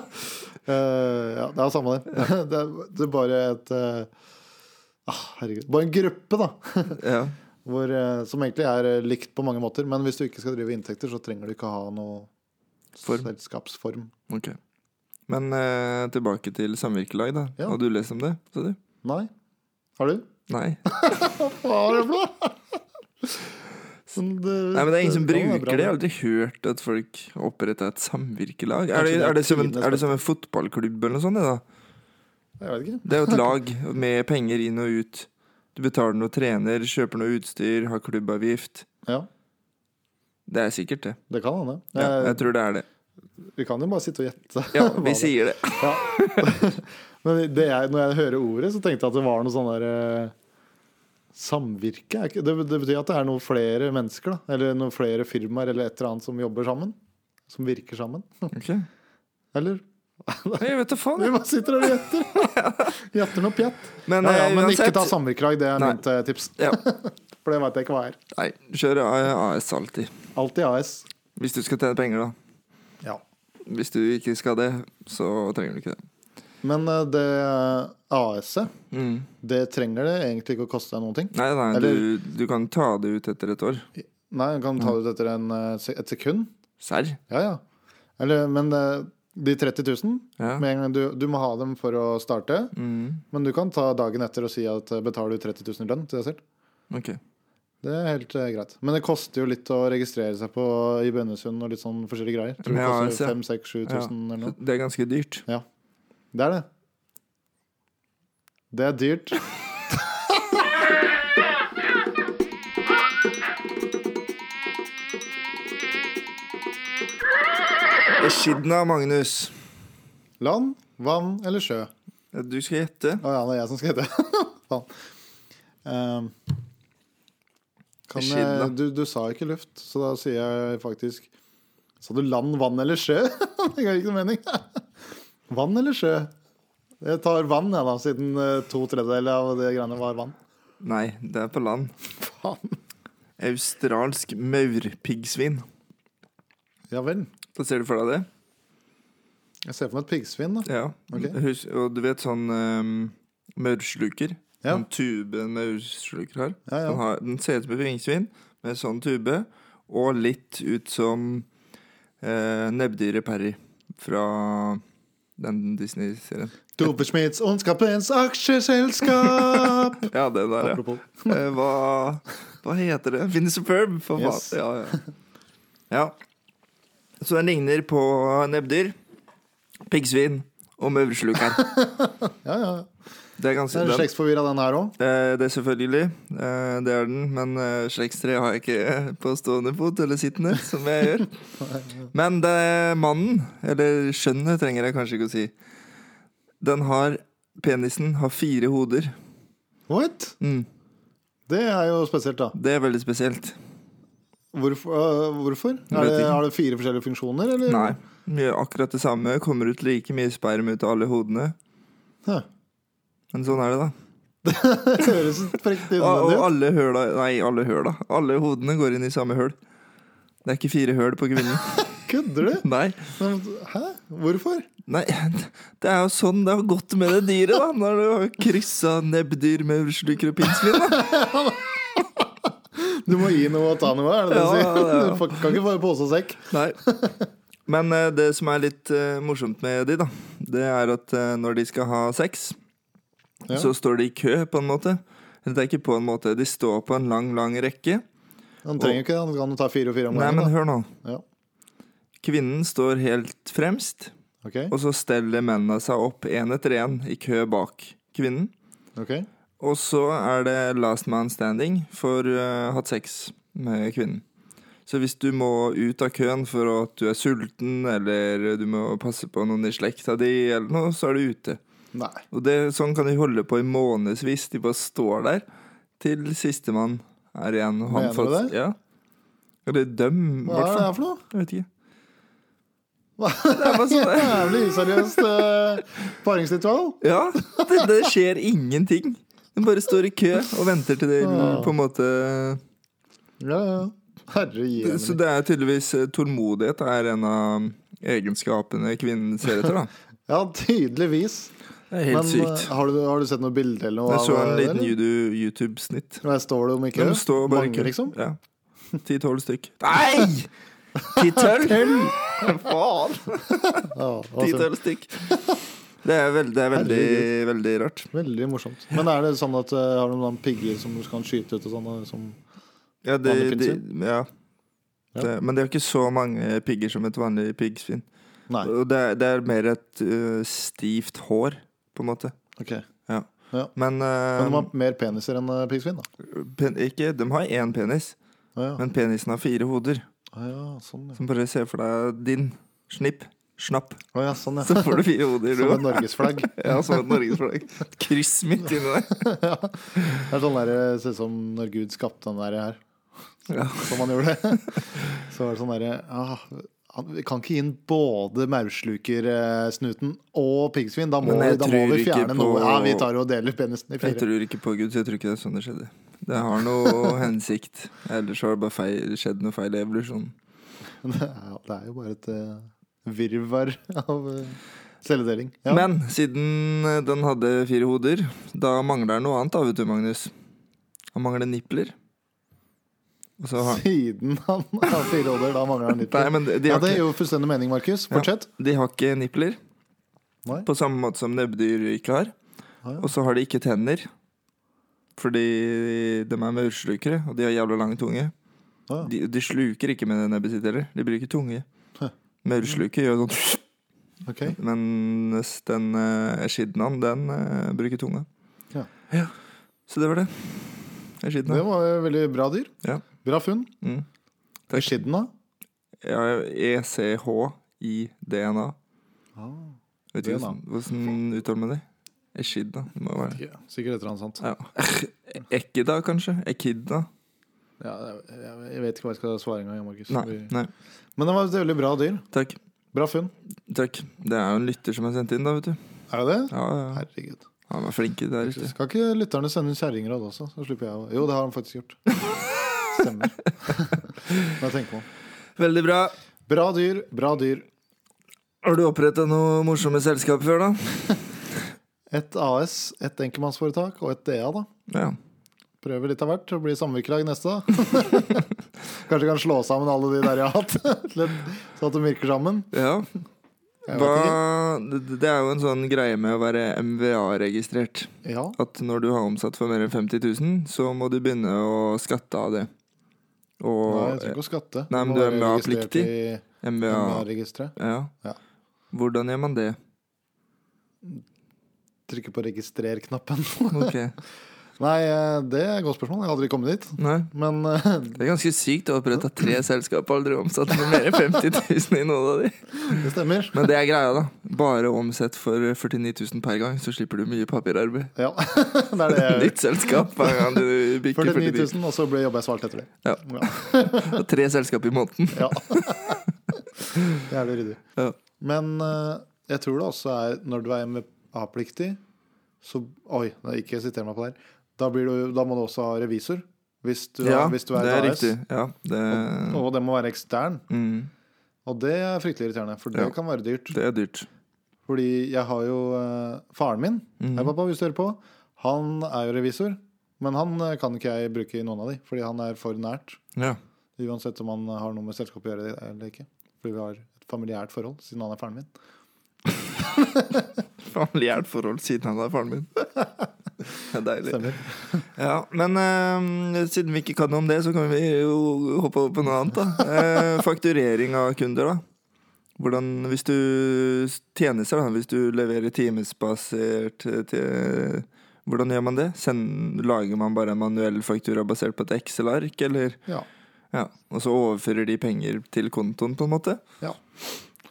[SPEAKER 1] Eh, ja, det er samme det. det, er, det er bare et eh, ah, Herregud. Bare en gruppe, da.
[SPEAKER 2] Ja.
[SPEAKER 1] Hvor, eh, som egentlig er eh, likt på mange måter. Men hvis du ikke skal drive inntekter, så trenger du ikke ha noe
[SPEAKER 2] Form.
[SPEAKER 1] selskapsform.
[SPEAKER 2] Ok. Men eh, tilbake til samvirkelag, da.
[SPEAKER 1] Ja.
[SPEAKER 2] Har du lest om det? Sa du?
[SPEAKER 1] Nei. Har du?
[SPEAKER 2] Nei.
[SPEAKER 1] Hva er det for noe? Sånn,
[SPEAKER 2] Nei, men det er ingen som
[SPEAKER 1] det var bra.
[SPEAKER 2] bruker det. Jeg har aldri hørt at folk oppretta et samvirkelag.
[SPEAKER 1] Kanskje
[SPEAKER 2] Er det,
[SPEAKER 1] det er
[SPEAKER 2] er, det som en,
[SPEAKER 1] tidenes
[SPEAKER 2] er det som en fotballklubb eller noe sånt? det da?
[SPEAKER 1] Jeg vet ikke.
[SPEAKER 2] Det er jo et lag med penger inn og ut. Du betaler noe trener, kjøper noe utstyr, har klubbavgift.
[SPEAKER 1] Ja,
[SPEAKER 2] Det er sikkert det.
[SPEAKER 1] det kan hende.
[SPEAKER 2] Ja,
[SPEAKER 1] Eh,
[SPEAKER 2] jeg tror det er det.
[SPEAKER 1] Vi kan jo bare sitte og gjette.
[SPEAKER 2] Ja,
[SPEAKER 1] hva
[SPEAKER 2] vi
[SPEAKER 1] det-
[SPEAKER 2] sier det.
[SPEAKER 1] Ja. Men det jeg, når jeg hører ordet, så tenkte jeg at det var noe sånn der eh, Samvirke? Er ikke, det, det betyr at det er noen flere mennesker, da. Eller noen flere firmaer eller et eller annet som jobber sammen. Som virker sammen.
[SPEAKER 2] Ok.
[SPEAKER 1] Eller?
[SPEAKER 2] Nei, Jeg vet da faen.
[SPEAKER 1] Vi
[SPEAKER 2] jeg.
[SPEAKER 1] bare sitter og gjetter. Gjetter noe pjatt.
[SPEAKER 2] Men,
[SPEAKER 1] Ja, ja,
[SPEAKER 2] eh,
[SPEAKER 1] men ikke
[SPEAKER 2] uansett-
[SPEAKER 1] ta samvirkelag, det er
[SPEAKER 2] Nei.
[SPEAKER 1] mitt eh, tips.
[SPEAKER 2] Ja.
[SPEAKER 1] For det veit jeg ikke hva er.
[SPEAKER 2] Nei, kjør AS alltid.
[SPEAKER 1] Alltid AS.
[SPEAKER 2] Hvis du skal tjene penger, da.
[SPEAKER 1] Ja.
[SPEAKER 2] Hvis du ikke skal det, så trenger du ikke det.
[SPEAKER 1] Men eh, det AS-et,
[SPEAKER 2] Mm.
[SPEAKER 1] det trenger det egentlig ikke å koste deg noen ting.
[SPEAKER 2] Nei, nei
[SPEAKER 1] Eller-
[SPEAKER 2] du, du kan ta det ut etter et år.
[SPEAKER 1] Nei, du kan ta
[SPEAKER 2] Mm.
[SPEAKER 1] det ut etter en, eh, se- et sekund.
[SPEAKER 2] Serr?
[SPEAKER 1] Ja, ja. Eller, men eh, de 30 000
[SPEAKER 2] Ja.
[SPEAKER 1] med en gang du, du må ha dem for å starte,
[SPEAKER 2] Mm.
[SPEAKER 1] men du kan ta dagen etter og si at eh, betaler du 30 000 i lønn til deg selv?
[SPEAKER 2] Ok.
[SPEAKER 1] Det er helt eh, greit. Men det koster jo litt å registrere seg på i Brønnøysund og litt sånn forskjellige greier. Jeg tror
[SPEAKER 2] Men
[SPEAKER 1] det
[SPEAKER 2] ja, altså,
[SPEAKER 1] koster
[SPEAKER 2] ja.
[SPEAKER 1] 5 6 7 000 eller noe.
[SPEAKER 2] Det er ganske dyrt.
[SPEAKER 1] Det er det. Det er dyrt.
[SPEAKER 2] Echidna, Magnus.
[SPEAKER 1] Land, vann eller sjø?
[SPEAKER 2] Ja, Du skal gjette.
[SPEAKER 1] Å ja, det er jeg som skal hete Faen. Ehm, kan
[SPEAKER 2] Echidna.
[SPEAKER 1] jeg, du, du sa ikke luft, så da sier jeg faktisk Sa du land, vann eller sjø? det ga ikke noe mening. vann eller sjø? Jeg tar vann, jeg, da, siden eh, to tredjedeler av det greiene var vann.
[SPEAKER 2] Nei, det er på land.
[SPEAKER 1] Faen.
[SPEAKER 2] Australsk maurpiggsvin.
[SPEAKER 1] Ja vel.
[SPEAKER 2] Da ser du for deg det?
[SPEAKER 1] Jeg ser for meg et piggsvin, da.
[SPEAKER 2] Ja.
[SPEAKER 1] Ok.
[SPEAKER 2] Hus, og du vet sånn um, maursluker?
[SPEAKER 1] Ja.
[SPEAKER 2] Sånn tube en maursluker har.
[SPEAKER 1] Ja, ja.
[SPEAKER 2] Den, har den ser ut som et vingsvin med sånn tube, og litt ut som eh, nebbdyret Parry fra den Disney-serien.
[SPEAKER 1] Dopersmids Ondskapens aksjeselskap!
[SPEAKER 2] Ja, det der, ja.
[SPEAKER 1] Apropos.
[SPEAKER 2] Eh, hva, hva heter det? Vinnie Superb, for faen.
[SPEAKER 1] Yes.
[SPEAKER 2] Ja, ja. ja. Så den ligner på nebbdyr, piggsvin og maursluker.
[SPEAKER 1] Ja, ja.
[SPEAKER 2] Det er
[SPEAKER 1] Det
[SPEAKER 2] ganske
[SPEAKER 1] er
[SPEAKER 2] den-
[SPEAKER 1] slektsforvirra, den her òg.
[SPEAKER 2] Eh, Det er selvfølgelig. eh, Det er den. Men eh, slektstre har jeg ikke eh, på stående fot eller sittende, som jeg gjør. Men det er mannen, eller skjønnet trenger jeg kanskje ikke å si, den har Penisen har fire hoder.
[SPEAKER 1] What?
[SPEAKER 2] Mm.
[SPEAKER 1] Det er jo spesielt, da.
[SPEAKER 2] Det er veldig spesielt.
[SPEAKER 1] Hvorfor? øh, hvorfor? Er
[SPEAKER 2] Vet
[SPEAKER 1] det,
[SPEAKER 2] ikke.
[SPEAKER 1] har det fire forskjellige funksjoner, eller?
[SPEAKER 2] Nei. Vi gjør akkurat det samme. Kommer ut like mye sperm ut av alle hodene.
[SPEAKER 1] Hæ.
[SPEAKER 2] Men sånn er det, da.
[SPEAKER 1] Det høres prektig
[SPEAKER 2] Og, og
[SPEAKER 1] innvendig ut.
[SPEAKER 2] alle høla Nei, alle høla. Alle hodene går inn i samme høl. Det er ikke fire høl på kvinnen.
[SPEAKER 1] Kødder du?
[SPEAKER 2] Nei.
[SPEAKER 1] Men, Hæ? Hvorfor?
[SPEAKER 2] Nei, det er jo sånn det har gått med det dyret, da. Når du har kryssa nebbdyr med ursluker og pinnsvin. da.
[SPEAKER 1] Du må gi noe og ta noe, er det det du
[SPEAKER 2] Ja,
[SPEAKER 1] sier?
[SPEAKER 2] ja, ja.
[SPEAKER 1] Du får- kan ikke bare pose og sekk.
[SPEAKER 2] Nei. Men eh, det som er litt eh, morsomt med de, da, det er at eh, når de skal ha sex,
[SPEAKER 1] Ja.
[SPEAKER 2] så står de i kø, på en måte. Eller det er ikke på en måte, de står på en lang, lang rekke.
[SPEAKER 1] Han trenger jo ikke det, han kan jo ta fire og fire om
[SPEAKER 2] Nei, men
[SPEAKER 1] gangen.
[SPEAKER 2] hør nå.
[SPEAKER 1] Ja.
[SPEAKER 2] Kvinnen står helt fremst,
[SPEAKER 1] da. Ok,
[SPEAKER 2] og så steller mennene seg opp én etter én i kø bak kvinnen.
[SPEAKER 1] ok.
[SPEAKER 2] Og så er det last man standing for uh, hatt sex med kvinnen. Så hvis du må ut av køen for at du er sulten, eller du må passe på noen i slekta di, eller noe, så er du ute.
[SPEAKER 1] Nei.
[SPEAKER 2] Og det, sånn kan de holde på i månedsvis. De bare står der til sistemann er igjen. Og han
[SPEAKER 1] Mener du
[SPEAKER 2] får,
[SPEAKER 1] det?
[SPEAKER 2] ja. Eller døm, i
[SPEAKER 1] Hva er det
[SPEAKER 2] hvert fall.
[SPEAKER 1] her for noe?
[SPEAKER 2] Jeg vet ikke.
[SPEAKER 1] Hva?
[SPEAKER 2] Det er bare sånn det.
[SPEAKER 1] Jævlig useriøst eh, paringsritual.
[SPEAKER 2] Ja, det, det skjer ingenting. Den bare står i kø og venter til det på en måte
[SPEAKER 1] Ja, ja. Herre
[SPEAKER 2] Så
[SPEAKER 1] jemini.
[SPEAKER 2] det er tydeligvis eh, tålmodighet er en av egenskapene kvinnen ser etter, da.
[SPEAKER 1] Ja, tydeligvis.
[SPEAKER 2] Det er
[SPEAKER 1] Men
[SPEAKER 2] helt
[SPEAKER 1] eh,
[SPEAKER 2] sykt.
[SPEAKER 1] har du, har du sett noen bilder eller noe?
[SPEAKER 2] eh, Jeg så en
[SPEAKER 1] av det,
[SPEAKER 2] liten
[SPEAKER 1] eller?
[SPEAKER 2] YouTube- YouTube-snitt.
[SPEAKER 1] Her står det om ikke
[SPEAKER 2] De står bare i
[SPEAKER 1] mange,
[SPEAKER 2] kø.
[SPEAKER 1] liksom.
[SPEAKER 2] Ja. Ti-tolv stykk. Nei! Ti-tolv? Faen!
[SPEAKER 1] Ja, altså,
[SPEAKER 2] Ti-tolv stykk. Det er, veld, det er veldig, veldig rart.
[SPEAKER 1] veldig morsomt. Men er det sånn at eh, har du noen pigger som du kan skyte ut og sånn? og Som,
[SPEAKER 2] Ja, de,
[SPEAKER 1] Vanlig
[SPEAKER 2] de,
[SPEAKER 1] pinnsvin?
[SPEAKER 2] ja.
[SPEAKER 1] Ja.
[SPEAKER 2] Det, men de har ikke så mange pigger som et vanlig piggsvin.
[SPEAKER 1] nei.
[SPEAKER 2] Og det, er- det er mer et øh, stivt hår, på en måte.
[SPEAKER 1] Ok.
[SPEAKER 2] Ja.
[SPEAKER 1] Ja.
[SPEAKER 2] Men, øh,
[SPEAKER 1] Men de har mer peniser enn eh, piggsvin, da.
[SPEAKER 2] pen, ikke, de har én penis,
[SPEAKER 1] Å ja.
[SPEAKER 2] men penisen har fire hoder.
[SPEAKER 1] Å ja, sånn, ja.
[SPEAKER 2] Så bare se for deg din. Snipp, snapp,
[SPEAKER 1] Å ja, sånn, ja.
[SPEAKER 2] så får du fire hoder. du
[SPEAKER 1] Som et
[SPEAKER 2] også.
[SPEAKER 1] norgesflagg.
[SPEAKER 2] ja, som et norgesflagg. Et Kryss midt inni der.
[SPEAKER 1] Det er sånn der, eh, ser ut som når Gud skapte den der her.
[SPEAKER 2] Ja.
[SPEAKER 1] som han gjorde. Så var det sånn derre ah, han- Vi kan ikke gi inn både maurslukersnuten og piggsvin. Da må,
[SPEAKER 2] Men
[SPEAKER 1] vi,
[SPEAKER 2] jeg
[SPEAKER 1] da må
[SPEAKER 2] tror
[SPEAKER 1] vi
[SPEAKER 2] ikke
[SPEAKER 1] fjerne
[SPEAKER 2] på-
[SPEAKER 1] noe. Ja, vi tar og deler penisen i
[SPEAKER 2] Jeg
[SPEAKER 1] fire.
[SPEAKER 2] tror ikke på Gud, så jeg tror ikke det er sånn det skjedde. Det har noe hensikt. Ellers har det bare feil, skjedd noe feil i evolusjonen.
[SPEAKER 1] Det er, det er jo bare et eh, virvar av eh, celledeling. Ja.
[SPEAKER 2] Men siden eh, den hadde fire hoder, da mangler den noe annet, da, vet du, Magnus. Han mangler nipler. Og så har
[SPEAKER 1] Siden han har fire hoder, da mangler han litt.
[SPEAKER 2] Nei, men de
[SPEAKER 1] ja,
[SPEAKER 2] har,
[SPEAKER 1] det gir
[SPEAKER 2] ikke,
[SPEAKER 1] jo fullstendig mening, Markus.
[SPEAKER 2] Ja.
[SPEAKER 1] Fortsett.
[SPEAKER 2] de har ikke nipler.
[SPEAKER 1] Nei.
[SPEAKER 2] På samme måte som nebbdyr ikke har.
[SPEAKER 1] Ah, ja.
[SPEAKER 2] Og så har de ikke tenner. Fordi de er maurslukere, og de har jævla lang tunge.
[SPEAKER 1] Ah.
[SPEAKER 2] De, de sluker ikke med nebbet sitt heller. De bruker tunge.
[SPEAKER 1] Hæ.
[SPEAKER 2] Maursluker gjør sånn
[SPEAKER 1] Ok.
[SPEAKER 2] Mens den uh, skidnaen, den eh, bruker tunga.
[SPEAKER 1] Ja.
[SPEAKER 2] Så det var det. Echidna.
[SPEAKER 1] Det var jo veldig bra dyr.
[SPEAKER 2] Ja.
[SPEAKER 1] Bra funn.
[SPEAKER 2] Mm. Takk.
[SPEAKER 1] Echidna.
[SPEAKER 2] Ja, E ECH-I-DNA.
[SPEAKER 1] Ah,
[SPEAKER 2] Vet ikke
[SPEAKER 1] DNA.
[SPEAKER 2] hvordan, hvordan uttaler man det? Echidna. Det må være det.
[SPEAKER 1] ok. Sikkert et eller annet sånt.
[SPEAKER 2] Ja. Ekida, kanskje? Ekidna?
[SPEAKER 1] Ja, jeg- jeg vet ikke hva jeg skal svare engang, Markus.
[SPEAKER 2] Nei.
[SPEAKER 1] Vi-
[SPEAKER 2] Nei.
[SPEAKER 1] Men det var et veldig bra dyr.
[SPEAKER 2] Takk.
[SPEAKER 1] Bra funn.
[SPEAKER 2] Takk. Det er jo en lytter som har sendt inn, da, vet du.
[SPEAKER 1] Er det det?
[SPEAKER 2] Ja, ja.
[SPEAKER 1] Herregud.
[SPEAKER 2] Han er flink i det der. vet du.
[SPEAKER 1] Skal ikke lytterne sende kjerringråd også? Så slipper jeg å Jo, det har han faktisk gjort. Stemmer. Når jeg tenker meg om.
[SPEAKER 2] Veldig bra.
[SPEAKER 1] Bra dyr, bra dyr.
[SPEAKER 2] Har du oppretta noe morsomme selskap før, da?
[SPEAKER 1] Et AS, et enkeltmannsforetak og et DA, da.
[SPEAKER 2] Ja.
[SPEAKER 1] Prøver litt av hvert og blir samvirkelag neste, da. Kanskje kan slå sammen alle de der jeg har hatt, til et- så at de virker sammen.
[SPEAKER 2] ja.
[SPEAKER 1] Jeg vet ikke.
[SPEAKER 2] Hva, det det er jo en sånn greie med å være MVA-registrert.
[SPEAKER 1] Ja,
[SPEAKER 2] At når du har omsatt for mer enn 50 000, så må du begynne å skatte av det.
[SPEAKER 1] nei, jeg
[SPEAKER 2] Og
[SPEAKER 1] trenger ikke å skatte.
[SPEAKER 2] Nei, men
[SPEAKER 1] Må
[SPEAKER 2] du er
[SPEAKER 1] være
[SPEAKER 2] med
[SPEAKER 1] registrert
[SPEAKER 2] pliktig.
[SPEAKER 1] i
[SPEAKER 2] MVA
[SPEAKER 1] MBA-registeret.
[SPEAKER 2] ja.
[SPEAKER 1] Ja.
[SPEAKER 2] Hvordan gjør man det?
[SPEAKER 1] Trykker på registrer-knappen.
[SPEAKER 2] Ok.
[SPEAKER 1] Nei, eh, det er et godt spørsmål. Jeg hadde ikke kommet dit.
[SPEAKER 2] Nei.
[SPEAKER 1] Men eh,
[SPEAKER 2] Det er ganske sykt å opprette tre selskap og aldri omsatt for mer enn 50 000 i noen av de.
[SPEAKER 1] det stemmer.
[SPEAKER 2] Men det er greia, da. Bare omsett for 49 000 per gang, så slipper du mye papirarbeid.
[SPEAKER 1] Ja, det er det jeg gjør.
[SPEAKER 2] Nytt selskap hver gang du bikker
[SPEAKER 1] 49
[SPEAKER 2] 49 000.
[SPEAKER 1] 000, og så ble jobber jeg svart etter det.
[SPEAKER 2] Ja. Og tre selskap i måneden.
[SPEAKER 1] Ja. Jævlig ryddig.
[SPEAKER 2] Ja.
[SPEAKER 1] Men eh, jeg tror det også er når du er MVA-pliktig, så Oi, nei, ikke siter meg på det her. Da, blir du, da må du også ha revisor hvis du,
[SPEAKER 2] Ja,
[SPEAKER 1] hvis du er,
[SPEAKER 2] det er
[SPEAKER 1] AS.
[SPEAKER 2] riktig. Eh. Ja, det,
[SPEAKER 1] Og det må være ekstern.
[SPEAKER 2] mm,
[SPEAKER 1] Og det er fryktelig irriterende, for det
[SPEAKER 2] Ja.
[SPEAKER 1] kan være dyrt.
[SPEAKER 2] det er dyrt.
[SPEAKER 1] Fordi jeg har jo eh, Faren min,
[SPEAKER 2] Mm,
[SPEAKER 1] hei pappa, hvis du hører på, han er jo revisor. Men han eh, kan ikke jeg bruke i noen av de, fordi han er for nært.
[SPEAKER 2] Ja.
[SPEAKER 1] Uansett om han har noe med selskapet å gjøre eller ikke. Fordi vi har et familiært forhold, siden han er faren min.
[SPEAKER 2] Familiært forhold siden han er faren min. Det er deilig.
[SPEAKER 1] Stemmer.
[SPEAKER 2] Ja, Men eh, siden vi ikke kan noe om det, så kan vi jo hoppe over på noe annet. da Eh, Fakturering av kunder, da. Hvordan, hvis du tjenester, da, hvis du leverer timesbasert eh, til Hvordan gjør man det? Send, lager man bare en manuell faktura basert på et Excel-ark, eller?
[SPEAKER 1] Ja.
[SPEAKER 2] Ja, Og så overfører de penger til kontoen, på en måte?
[SPEAKER 1] Ja.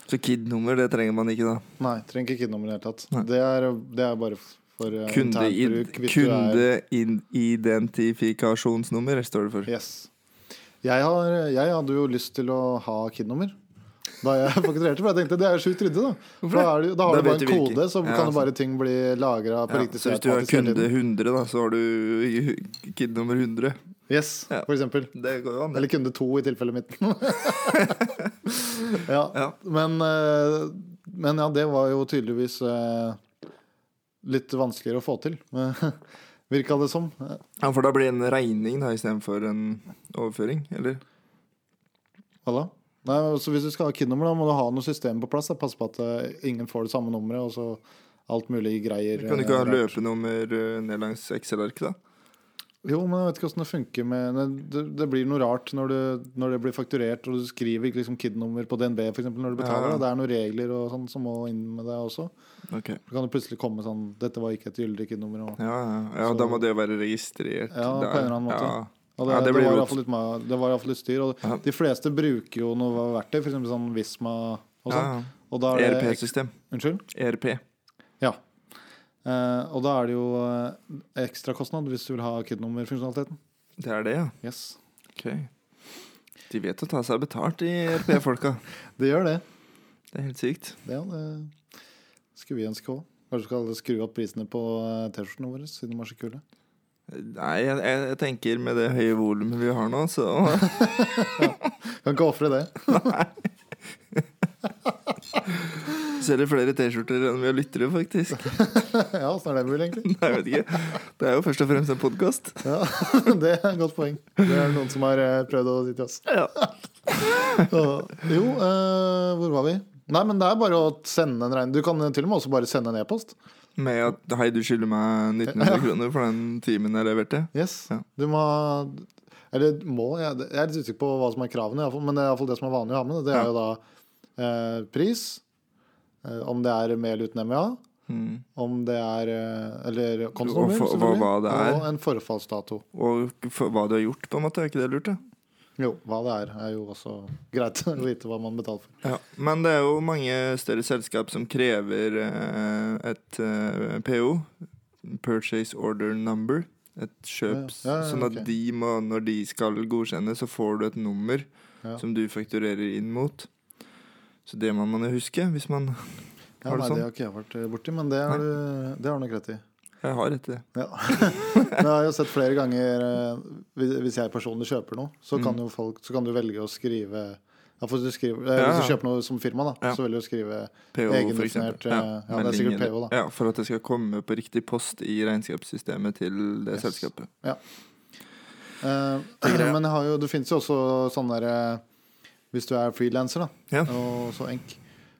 [SPEAKER 2] Så KID-nummer, det trenger man ikke, da.
[SPEAKER 1] Nei, trenger ikke kidnummer i det hele tatt.
[SPEAKER 2] Nei.
[SPEAKER 1] Det er, det er bare for eh, internt bruk. hvis du er-
[SPEAKER 2] Kundeidentifikasjonsnummer står det for.
[SPEAKER 1] Yes. Jeg, har, jeg hadde jo lyst til å ha KID-nummer da jeg fakturerte, for jeg tenkte det er jo sjukt ryddig, da. For da, er det, da har du bare
[SPEAKER 2] Da vet
[SPEAKER 1] en
[SPEAKER 2] du hvilken.
[SPEAKER 1] kode, så
[SPEAKER 2] Ja,
[SPEAKER 1] kan jo bare ting bli lagra på
[SPEAKER 2] Ja,
[SPEAKER 1] riktig
[SPEAKER 2] så hvis du er
[SPEAKER 1] automatisk hele
[SPEAKER 2] kunde
[SPEAKER 1] tiden.
[SPEAKER 2] 100, da, så har du KID-nummer 100.
[SPEAKER 1] Yes,
[SPEAKER 2] Ja.
[SPEAKER 1] for eksempel.
[SPEAKER 2] Det går jo an. det.
[SPEAKER 1] Eller kunde to, i tilfellet mitt. ja.
[SPEAKER 2] Ja.
[SPEAKER 1] Men, eh, men ja, det var jo tydeligvis eh, litt vanskeligere å få til, virka det som.
[SPEAKER 2] Ja, For da blir det en regning da istedenfor en overføring, eller?
[SPEAKER 1] Hva da? Nei, så Hvis du skal ha KID-nummer, da må du ha noe system på plass. Da. Pass på at eh, ingen får det samme nummeret, og så alt mulig greier.
[SPEAKER 2] Kan du ikke ha
[SPEAKER 1] eh,
[SPEAKER 2] løpenummer eh, ned langs Excel-arket, da?
[SPEAKER 1] Jo, men jeg vet ikke hvordan det funker med Nei, det, det blir noe rart når, du, når det blir fakturert, og du skriver ikke liksom KID-nummer på DNB for eksempel, når du betaler.
[SPEAKER 2] Ja.
[SPEAKER 1] Og det er noen regler og sånn som må inn med det også.
[SPEAKER 2] Ok
[SPEAKER 1] Så kan det plutselig komme sånn Dette var ikke et gyldig KID-nummer. Og,
[SPEAKER 2] Ja, ja, ja
[SPEAKER 1] Så-
[SPEAKER 2] da må det jo være registrert.
[SPEAKER 1] Ja, på
[SPEAKER 2] der.
[SPEAKER 1] en eller annen måte.
[SPEAKER 2] Ja.
[SPEAKER 1] og det,
[SPEAKER 2] Ja,
[SPEAKER 1] det,
[SPEAKER 2] det blir
[SPEAKER 1] var i
[SPEAKER 2] rot.
[SPEAKER 1] hvert fall litt ma- det var iallfall litt styr. Og
[SPEAKER 2] Ja.
[SPEAKER 1] de fleste bruker jo noe verktøy, f.eks. sånn Visma og sånn.
[SPEAKER 2] Ja, E
[SPEAKER 1] Og da
[SPEAKER 2] ja.
[SPEAKER 1] er det
[SPEAKER 2] ERP-system.
[SPEAKER 1] Unnskyld?
[SPEAKER 2] ERP.
[SPEAKER 1] Ja. Eh, og da er det jo eh, ekstrakostnad hvis du vil ha KID-nummerfunksjonaliteten.
[SPEAKER 2] Det er det, ja.
[SPEAKER 1] Yes.
[SPEAKER 2] Ok. De vet å ta seg betalt, de ERP-folka.
[SPEAKER 1] Det gjør det.
[SPEAKER 2] Det er helt sykt.
[SPEAKER 1] Det, ja, det skulle vi ønske òg. Kanskje skal alle skru opp prisene på eh, T-skjortene våre, siden de var så kule.
[SPEAKER 2] Nei, jeg, jeg, jeg tenker med det høye volumet vi har nå, så
[SPEAKER 1] Kan ikke ofre det.
[SPEAKER 2] selger flere T-skjorter enn vi har lyttere, faktisk.
[SPEAKER 1] ja, åssen er det mulig, egentlig?
[SPEAKER 2] Nei, jeg vet ikke. Det er jo først og fremst en podkast.
[SPEAKER 1] Ja, Det er et godt poeng. Det er noen som har eh, prøvd å si til oss.
[SPEAKER 2] Ja.
[SPEAKER 1] Så, Jo, eh, hvor var vi? Nei, men det er bare å sende en regning. Du kan til og med også bare sende en e-post.
[SPEAKER 2] Med at 'hei, du skylder meg 1900 kroner for den timen jeg leverte'.
[SPEAKER 1] Yes.
[SPEAKER 2] Ja.
[SPEAKER 1] Du må Eller må Jeg jeg er litt usikker på hva som er kravene, i hvert fall, men det er iallfall det som er vanlig å ha med. Det
[SPEAKER 2] Ja.
[SPEAKER 1] er jo da eh, pris, eh, om det er med eller uten MVA,
[SPEAKER 2] Mm.
[SPEAKER 1] om det er eh, Eller
[SPEAKER 2] Og
[SPEAKER 1] kontonummer,
[SPEAKER 2] for- hva-
[SPEAKER 1] selvfølgelig.
[SPEAKER 2] hva det er.
[SPEAKER 1] Og en forfallsdato.
[SPEAKER 2] Og for hva du har gjort, på en måte. Er ikke det lurt, da?
[SPEAKER 1] Jo, hva det er, er jo også greit å vite hva man betaler for.
[SPEAKER 2] Ja, men det er jo mange større selskap som krever eh, et eh, PO, Purchase Order Number, et kjøp,
[SPEAKER 1] Ja, ja, ja,
[SPEAKER 2] sånn at
[SPEAKER 1] ok.
[SPEAKER 2] de må, når de skal godkjenne, så får du et nummer
[SPEAKER 1] Ja.
[SPEAKER 2] som du fakturerer inn mot. Så det må man jo huske hvis man
[SPEAKER 1] Ja,
[SPEAKER 2] Har du
[SPEAKER 1] nei,
[SPEAKER 2] sånn?
[SPEAKER 1] Det har ikke jeg vært borti, men det har du det har du nok rett i.
[SPEAKER 2] Jeg har eh, rett i det.
[SPEAKER 1] Ja. Men jeg har jo sett flere ganger eh, Hvis hvis jeg personlig kjøper noe, så kan
[SPEAKER 2] Mm.
[SPEAKER 1] jo folk Så kan du velge å skrive ja, for du skriver, eh,
[SPEAKER 2] Ja,
[SPEAKER 1] Hvis du
[SPEAKER 2] ja.
[SPEAKER 1] kjøper noe som firma, da,
[SPEAKER 2] Ja.
[SPEAKER 1] så velger du å skrive
[SPEAKER 2] PO, for
[SPEAKER 1] egendefinert
[SPEAKER 2] eksempel.
[SPEAKER 1] eh, ja,
[SPEAKER 2] med
[SPEAKER 1] det er sikkert
[SPEAKER 2] linje-
[SPEAKER 1] PO, da.
[SPEAKER 2] Ja, for at det skal komme på riktig post i regnskapssystemet til det
[SPEAKER 1] Yes.
[SPEAKER 2] selskapet.
[SPEAKER 1] Eh, men jeg har jo, det fins jo også sånne der eh, Hvis du er frilanser, da,
[SPEAKER 2] Ja.
[SPEAKER 1] og så enk,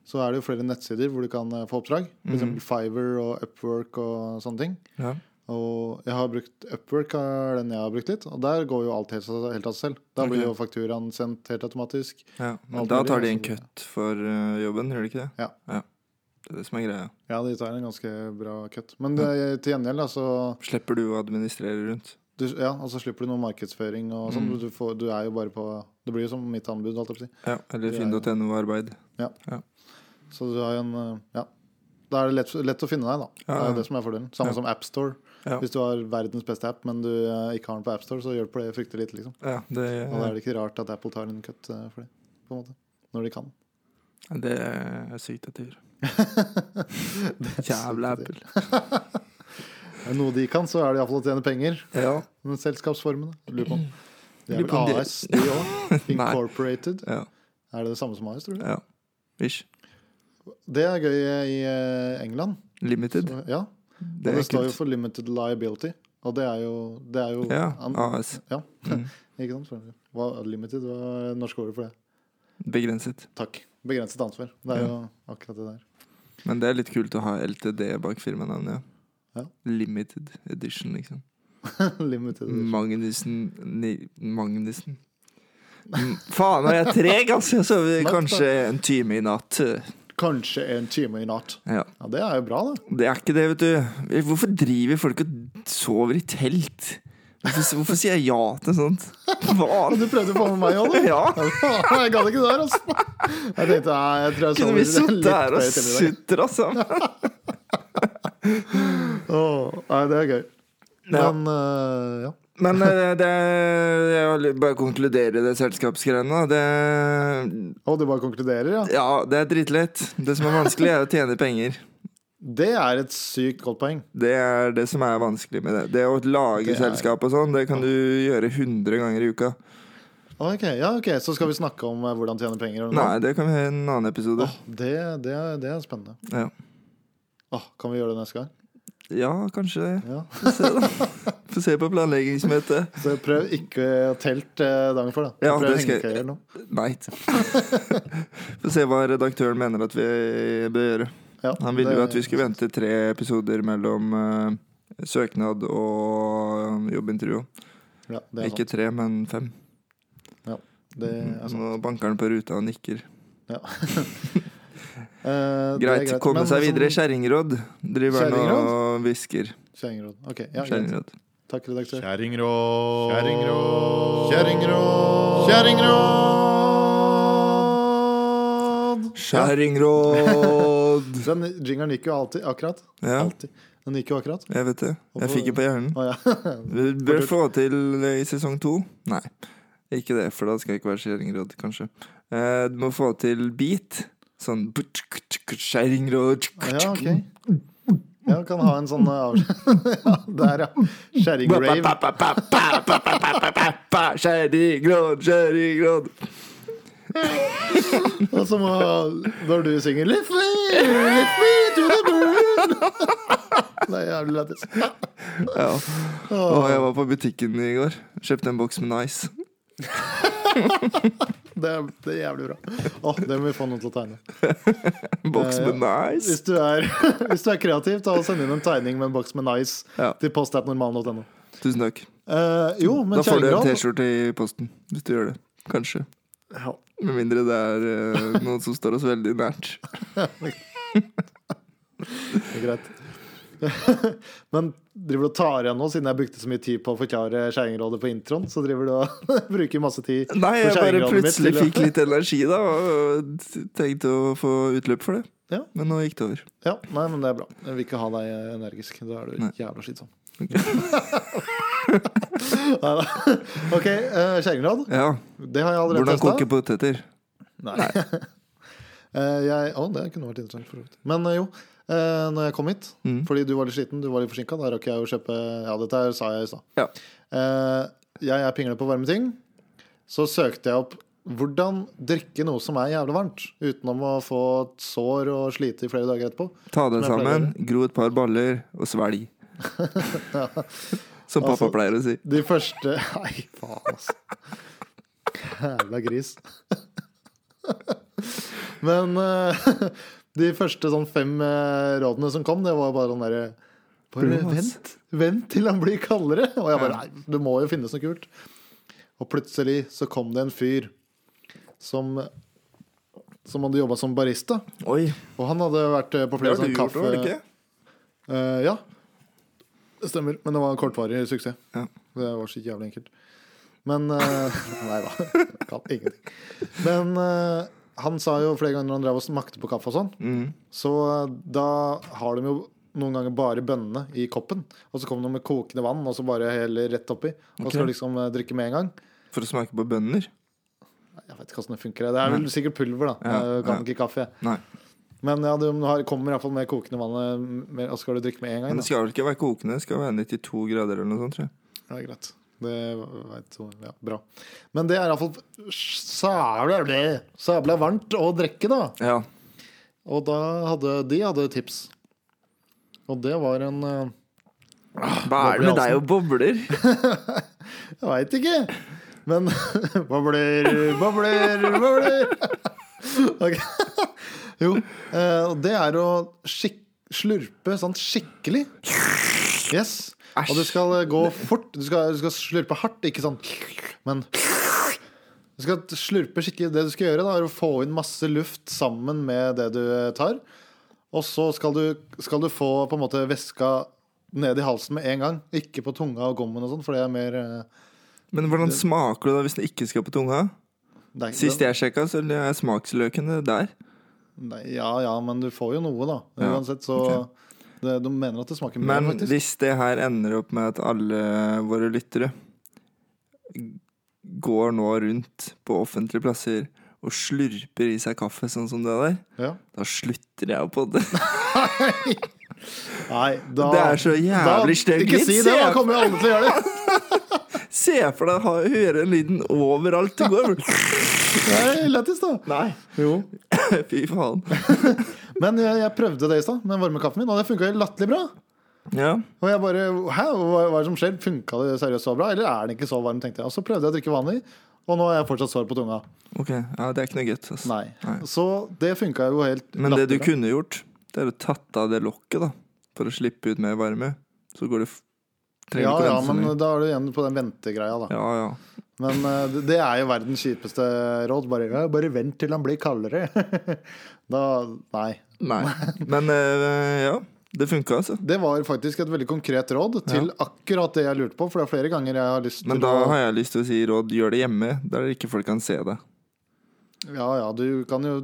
[SPEAKER 1] så er det jo flere nettsider hvor du kan eh, få oppdrag. For eksempel Fiverr og Upwork og sånne ting.
[SPEAKER 2] Mm. Ja.
[SPEAKER 1] Og jeg har brukt Upwork, er den jeg har brukt litt. Og der går jo alt helt, helt av seg selv. Da blir
[SPEAKER 2] Ok.
[SPEAKER 1] jo fakturaen sendt helt automatisk.
[SPEAKER 2] Ja, men
[SPEAKER 1] Alt
[SPEAKER 2] da
[SPEAKER 1] mulig,
[SPEAKER 2] tar de en
[SPEAKER 1] altså.
[SPEAKER 2] kutt for eh, jobben, gjør de ikke det?
[SPEAKER 1] Ja.
[SPEAKER 2] Det er det som er greia.
[SPEAKER 1] Ja, det er en ganske bra kutt. Men det, til gjengjeld, da, så
[SPEAKER 2] Slipper du å administrere rundt?
[SPEAKER 1] du, ja, og så slipper du noe markedsføring og sånn.
[SPEAKER 2] Mm.
[SPEAKER 1] Du, får, du er jo bare på Det blir jo som mitt anbud, holdt jeg på å si.
[SPEAKER 2] Ja, eller finn.no-arbeid.
[SPEAKER 1] Så du har jo en eh, Ja. Da er det lett, lett å finne deg, da. Det
[SPEAKER 2] Ja,
[SPEAKER 1] er
[SPEAKER 2] ja.
[SPEAKER 1] jo det som er fordelen. Samme
[SPEAKER 2] Ja.
[SPEAKER 1] som AppStore.
[SPEAKER 2] Ja.
[SPEAKER 1] Hvis du har verdens beste app, men du eh, ikke har den på AppStore, så hjelper det fryktelig lite, liksom.
[SPEAKER 2] Ja, det,
[SPEAKER 1] Og da er det ikke rart at Apple tar en kutt eh, for det, på en måte. Når de kan.
[SPEAKER 2] det er sykt at de gjør.
[SPEAKER 1] sykt at
[SPEAKER 2] Jævla
[SPEAKER 1] de
[SPEAKER 2] Apple.
[SPEAKER 1] Er det noe de kan, så er det iallfall å tjene penger.
[SPEAKER 2] Ja.
[SPEAKER 1] Men selskapsformene, lurer på. De er
[SPEAKER 2] Lurer på om
[SPEAKER 1] vel
[SPEAKER 2] de-
[SPEAKER 1] AS, de òg? Incorporated.
[SPEAKER 2] ja.
[SPEAKER 1] Er det det samme som AS, tror du?
[SPEAKER 2] ja. Ish.
[SPEAKER 1] Det er gøy i eh, England.
[SPEAKER 2] Limited.
[SPEAKER 1] Så, ja. og
[SPEAKER 2] Det er
[SPEAKER 1] det står jo
[SPEAKER 2] kult.
[SPEAKER 1] for limited liability, og det er jo, det er jo
[SPEAKER 2] Ja.
[SPEAKER 1] an-
[SPEAKER 2] AS.
[SPEAKER 1] ja.
[SPEAKER 2] Mm.
[SPEAKER 1] Ikke sant? For- Hva, limited hva er det norske ordet for det.
[SPEAKER 2] Begrenset.
[SPEAKER 1] Takk. Begrenset ansvar. Det er jo akkurat det der.
[SPEAKER 2] Men det er litt kult å ha LTD bak firmanavnet.
[SPEAKER 1] Ja.
[SPEAKER 2] Ja. Limited edition, liksom.
[SPEAKER 1] limited. edition.
[SPEAKER 2] Magnussen Ni- Magnussen. Mm, Faen, nå er jeg treg, altså! Jeg sover
[SPEAKER 1] Natt, da.
[SPEAKER 2] kanskje en time i natt.
[SPEAKER 1] Kanskje en time i natt.
[SPEAKER 2] Ja.
[SPEAKER 1] Ja, Det er jo bra, da.
[SPEAKER 2] Det er ikke det, vet du. Eh, Hvorfor driver folk og sover i telt? Hvorfor, hvorfor sier jeg ja til sånt?
[SPEAKER 1] Og
[SPEAKER 2] Faen!
[SPEAKER 1] du prøvde å få med meg òg, du.
[SPEAKER 2] Ja!
[SPEAKER 1] Jeg gadd ikke det der, altså. Jeg tenkte nei, jeg tror jeg
[SPEAKER 2] Kunne vi
[SPEAKER 1] sover litt
[SPEAKER 2] sittet her og sånn?
[SPEAKER 1] bedre til i dag.
[SPEAKER 2] sutra sammen?
[SPEAKER 1] Åh, Nei, det er gøy.
[SPEAKER 2] Ja.
[SPEAKER 1] Men øh, ja.
[SPEAKER 2] Men eh, det Jeg vil bare konkludere det selskapsgreiene. da. Det
[SPEAKER 1] Og du bare konkluderer, ja.
[SPEAKER 2] Ja, det er dritlett. Det som er vanskelig, er å tjene penger.
[SPEAKER 1] Det er et sykt godt poeng.
[SPEAKER 2] Det er det som er vanskelig med det. Det å lage
[SPEAKER 1] Det er-
[SPEAKER 2] selskap og sånn, det kan du gjøre 100 ganger i uka.
[SPEAKER 1] Ah, Ok, ja, ok, Så skal vi snakke om eh, hvordan tjene penger? og noe.
[SPEAKER 2] Nei, det kan vi ha i en annen episode.
[SPEAKER 1] Åh, det, det, er- det er spennende.
[SPEAKER 2] Ja.
[SPEAKER 1] Åh, kan vi gjøre det neste gang?
[SPEAKER 2] ja, kanskje det.
[SPEAKER 1] Ja.
[SPEAKER 2] Få se, da. Få se på planleggingsmøtet.
[SPEAKER 1] Så prøv ikke å telt eh, dagen før, da.
[SPEAKER 2] Ja,
[SPEAKER 1] prøv
[SPEAKER 2] det skal jeg-
[SPEAKER 1] hengekøye eller noe.
[SPEAKER 2] Nei. Få se hva redaktøren mener at vi bør gjøre.
[SPEAKER 1] Ja,
[SPEAKER 2] Han ville jo
[SPEAKER 1] det-
[SPEAKER 2] at vi skulle vente tre episoder mellom eh, søknad og jobbintervju.
[SPEAKER 1] Ja, det er
[SPEAKER 2] Ikke tre, men fem.
[SPEAKER 1] sant. Det er sant.
[SPEAKER 2] Nå banker han på ruta og nikker.
[SPEAKER 1] Eh, det er
[SPEAKER 2] Greit, komme
[SPEAKER 1] men
[SPEAKER 2] seg
[SPEAKER 1] liksom-
[SPEAKER 2] videre. Kjerringråd driver han og
[SPEAKER 1] Kjerringråd?
[SPEAKER 2] hvisker.
[SPEAKER 1] Kjerringråd. Ok, ja, greit.
[SPEAKER 2] Kjerringråd.
[SPEAKER 1] Takk, redaktør.
[SPEAKER 3] Kjerringråd.
[SPEAKER 1] Kjerringråd.
[SPEAKER 3] Kjerringråd.
[SPEAKER 1] Kjerringråd!
[SPEAKER 2] Kjerringråd!
[SPEAKER 1] Den jingeren gikk jo alltid akkurat.
[SPEAKER 2] Ja,
[SPEAKER 1] Alltid. Den gikk jo akkurat.
[SPEAKER 2] jeg vet det. Jeg fikk det på hjernen.
[SPEAKER 1] Å, ja.
[SPEAKER 2] Vi bør få til det i sesong to. Nei, ikke det, for da skal jeg ikke være kjerringråd, kanskje. Eh, Du må få til beat. Sånn kjerringråd
[SPEAKER 1] Ah, Ja, ok. Ja, kan ha en sånn eh, avsl- ja, Der, ja. Kjerringrave.
[SPEAKER 2] Kjerringråd, kjerringråd.
[SPEAKER 1] Og så må Når du synger Lift me, lift me to the moon. Det er jævlig lættis.
[SPEAKER 2] Ja. Og jeg var på butikken i går. Kjøpte en boks med Nice.
[SPEAKER 1] Det, er- det er jævlig bra. Åh, det må vi få noen til å tegne.
[SPEAKER 2] En boks med Nice.
[SPEAKER 1] Hvis du er, hvis du er kreativ, ta og send inn en tegning med en boks med nice
[SPEAKER 2] Ja.
[SPEAKER 1] til postatnormalen.no.
[SPEAKER 2] Tusen takk.
[SPEAKER 1] Eh, jo, men
[SPEAKER 2] Da får du en
[SPEAKER 1] kjerringrad
[SPEAKER 2] T-skjorte i posten hvis du gjør det. Kanskje.
[SPEAKER 1] ja,
[SPEAKER 2] Med mindre det er eh, noen som står oss veldig nært.
[SPEAKER 1] det er greit. Men driver du og tar igjen nå, siden jeg brukte så mye tid på å forklare kjerringrådet på introen? Så driver du og bruker masse tid
[SPEAKER 2] Nei, jeg bare
[SPEAKER 1] kjerringrådet mitt
[SPEAKER 2] plutselig
[SPEAKER 1] til å-
[SPEAKER 2] fikk litt energi da, og tenkte å få utløp for det.
[SPEAKER 1] Ja.
[SPEAKER 2] Men nå gikk det over.
[SPEAKER 1] Ja, nei, men det er bra. Jeg vil ikke ha deg eh, energisk. Da er du
[SPEAKER 2] Nei.
[SPEAKER 1] jævla slitsom. Neida. ok, uh, kjerringrad.
[SPEAKER 2] Ja,
[SPEAKER 1] Det har jeg allerede
[SPEAKER 2] Hvordan koke
[SPEAKER 1] testa.
[SPEAKER 2] poteter?
[SPEAKER 1] Nei. Eh, jeg, å, det kunne vært interessant. For så vidt. Men eh, jo, eh, når jeg kom hit
[SPEAKER 2] Mm.
[SPEAKER 1] Fordi du var litt sliten, du var litt forsinka. Da rakk jeg å kjøpe Ja, dette her sa jeg i stad.
[SPEAKER 2] Ja.
[SPEAKER 1] Eh, jeg er pingle på varme ting. Så søkte jeg opp hvordan drikke noe som er jævlig varmt, utenom å få et sår og slite i flere dager etterpå.
[SPEAKER 2] Ta deg
[SPEAKER 1] Som jeg pleier
[SPEAKER 2] sammen, gro et par baller og svelg. Som pappa
[SPEAKER 1] Altså-
[SPEAKER 2] pleier å si.
[SPEAKER 1] De første Nei, faen, altså. Jævla gris. Men eh, de første sånn fem eh, rådene som kom, det var bare sånn derre Bare
[SPEAKER 2] Prøv, ass.
[SPEAKER 1] vent, vent til han blir kaldere. Og jeg bare Nei, det må jo finnes noe kult. Og plutselig så kom det en fyr som som hadde jobba som barista.
[SPEAKER 2] Oi.
[SPEAKER 1] Og han hadde vært eh, på
[SPEAKER 2] Det
[SPEAKER 1] flere
[SPEAKER 2] har du
[SPEAKER 1] sånne
[SPEAKER 2] gjort
[SPEAKER 1] kaffe...
[SPEAKER 2] òg, har du ikke?
[SPEAKER 1] Eh, ja. Det stemmer. Men det var en kortvarig suksess.
[SPEAKER 2] Ja.
[SPEAKER 1] Det var så jævlig enkelt. Men eh, Nei da. Jeg Kan ingenting. Men eh, han sa jo flere ganger når han drev og smakte på kaffe og sånn,
[SPEAKER 2] Mm.
[SPEAKER 1] så eh, da har de jo noen ganger bare bønnene i koppen. Og så kommer de med kokende vann og så bare heller rett oppi. Og
[SPEAKER 2] Ok.
[SPEAKER 1] skal liksom eh, drikke med en gang.
[SPEAKER 2] For å smake på bønner?
[SPEAKER 1] Nei, Jeg vet ikke hvordan det funker. Det er vel sikkert pulver, da.
[SPEAKER 2] Ja,
[SPEAKER 1] Jeg kan
[SPEAKER 2] ja.
[SPEAKER 1] ikke kaffe. jeg.
[SPEAKER 2] Nei.
[SPEAKER 1] Men ja, de har, kommer iallfall med kokende vann, eh, med- og så skal du drikke med en gang.
[SPEAKER 2] Men det skal vel ikke være kokende? Det skal være 92 grader eller noe sånt, tror jeg.
[SPEAKER 1] Ja, Det er greit. Det vet hun. Ja, bra. Men det er iallfall sævla sævla varmt å drikke, da.
[SPEAKER 2] Ja.
[SPEAKER 1] Og da hadde de hadde tips. Og det var en eh,
[SPEAKER 2] Hva er det med deg og bobler?
[SPEAKER 1] Jeg veit ikke. Men bobler, bobler, bobler. Ok. Jo, eh, og det er å skik slurpe sånn skikkelig. Yes. Og du skal eh, gå fort. Du skal, du skal slurpe hardt, ikke sånn Men du skal slurpe skikkelig. Det du skal gjøre, da, er å få inn masse luft sammen med det du tar. Og så skal du, skal du få på en måte væska ned i halsen med en gang. Ikke på tunga og gommen og sånn, for det er mer eh,
[SPEAKER 2] Men hvordan smaker det da hvis det ikke skal på tunga?
[SPEAKER 1] det er ikke-
[SPEAKER 2] Sist jeg sjekka, så er smaksløkene der.
[SPEAKER 1] Nei, ja ja, men du får jo noe, da.
[SPEAKER 2] Ja,
[SPEAKER 1] Uansett, så det, De mener at det smaker mer,
[SPEAKER 2] Men
[SPEAKER 1] faktisk.
[SPEAKER 2] hvis det her ender opp med at alle våre lyttere går nå rundt på offentlige plasser og slurper i seg kaffe sånn som det der,
[SPEAKER 1] Ja.
[SPEAKER 2] da slutter jeg å podde.
[SPEAKER 1] Nei, da
[SPEAKER 2] Det er så jævlig stygg
[SPEAKER 1] Ikke
[SPEAKER 2] vits,
[SPEAKER 1] si det, da
[SPEAKER 2] jeg.
[SPEAKER 1] kommer jo alle til å gjøre det!
[SPEAKER 2] Se for deg å ha- høre lyden overalt du går.
[SPEAKER 1] Nei, Lættis, da.
[SPEAKER 2] Nei,
[SPEAKER 1] Jo.
[SPEAKER 2] fy faen.
[SPEAKER 1] Men jeg, jeg prøvde det i stad med varmekaffen min, og det funka latterlig bra.
[SPEAKER 2] Ja.
[SPEAKER 1] Og jeg bare Hæ, hva, hva er det som skjer? Funka det seriøst så bra, eller er den ikke så varm? tenkte jeg Og så prøvde jeg å drikke vanlig, og nå er jeg fortsatt sår på tunga.
[SPEAKER 2] Ok, ja, det er ikke noe gøy. ass.
[SPEAKER 1] Nei. Så det funka jo helt
[SPEAKER 2] Men det du
[SPEAKER 1] latterlig bra.
[SPEAKER 2] kunne gjort, det er å tatt av det lokket, da. For å slippe ut mer varme. Så går det f- trenger
[SPEAKER 1] Ja,
[SPEAKER 2] du ikke å
[SPEAKER 1] ja,
[SPEAKER 2] vente så
[SPEAKER 1] men
[SPEAKER 2] mye.
[SPEAKER 1] da er du igjen på den ventegreia, da.
[SPEAKER 2] Ja, ja.
[SPEAKER 1] Men eh, det- det er jo verdens kjipeste råd. Bare, ja, bare vent til han blir kaldere. da Nei.
[SPEAKER 2] Nei. Men eh, ja, det funka, altså.
[SPEAKER 1] Det var faktisk et veldig konkret råd til akkurat det jeg lurte på. For det er flere ganger jeg har lyst
[SPEAKER 2] Men
[SPEAKER 1] til
[SPEAKER 2] da
[SPEAKER 1] å
[SPEAKER 2] har jeg lyst til å si råd, gjør det hjemme, der ikke folk kan se det.
[SPEAKER 1] Ja ja, du kan jo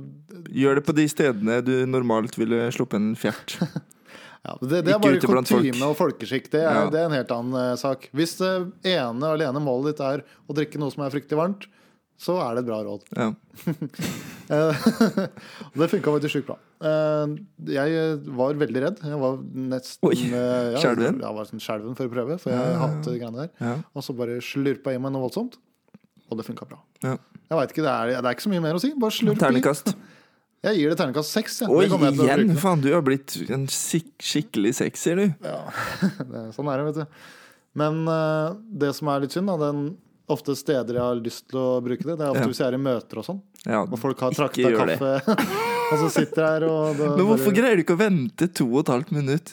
[SPEAKER 2] Gjør det på de stedene du normalt ville sluppet en fjert.
[SPEAKER 1] ja, det, det er
[SPEAKER 2] Ikke
[SPEAKER 1] bare
[SPEAKER 2] ute blant folk.
[SPEAKER 1] kutyme og folkeskikk. Det er,
[SPEAKER 2] Ja.
[SPEAKER 1] det er en helt annen eh, sak. Hvis det ene og alene målet ditt er å drikke noe som er fryktelig varmt, så er det et bra råd.
[SPEAKER 2] Ja.
[SPEAKER 1] Eh, Og det funka faktisk sjukt bra. Eh, Jeg eh, var veldig redd. Jeg var nesten
[SPEAKER 2] Oi,
[SPEAKER 1] eh, ja,
[SPEAKER 2] skjelven? Ah.
[SPEAKER 1] Jeg var sånn skjelven for å prøve, for jeg hater de greiene der.
[SPEAKER 2] Ja.
[SPEAKER 1] Og så bare slurpa i meg noe voldsomt, og det funka bra.
[SPEAKER 2] Ja.
[SPEAKER 1] Jeg vet ikke, det er, det er ikke så mye mer å si. Bare slurp i.
[SPEAKER 2] Ternekast.
[SPEAKER 1] Jeg gir det terningkast seks. jeg.
[SPEAKER 2] Og
[SPEAKER 1] Det kommer jeg til å
[SPEAKER 2] igjen!
[SPEAKER 1] bruke.
[SPEAKER 2] Faen, du har blitt en skik skikkelig sekser, du.
[SPEAKER 1] Det- Sånn er det, vet du. Men eh, det som er litt synd, da, den ofte steder jeg har lyst til å bruke det, det er ofte
[SPEAKER 2] Ja.
[SPEAKER 1] hvis jeg er i møter og sånn,
[SPEAKER 2] Ja.
[SPEAKER 1] og folk har
[SPEAKER 2] Ikke
[SPEAKER 1] trakta
[SPEAKER 2] gjør det.
[SPEAKER 1] kaffe, og så sitter jeg her og det-
[SPEAKER 2] Men hvorfor
[SPEAKER 1] bare-
[SPEAKER 2] greier du ikke å vente to og et halvt minutt?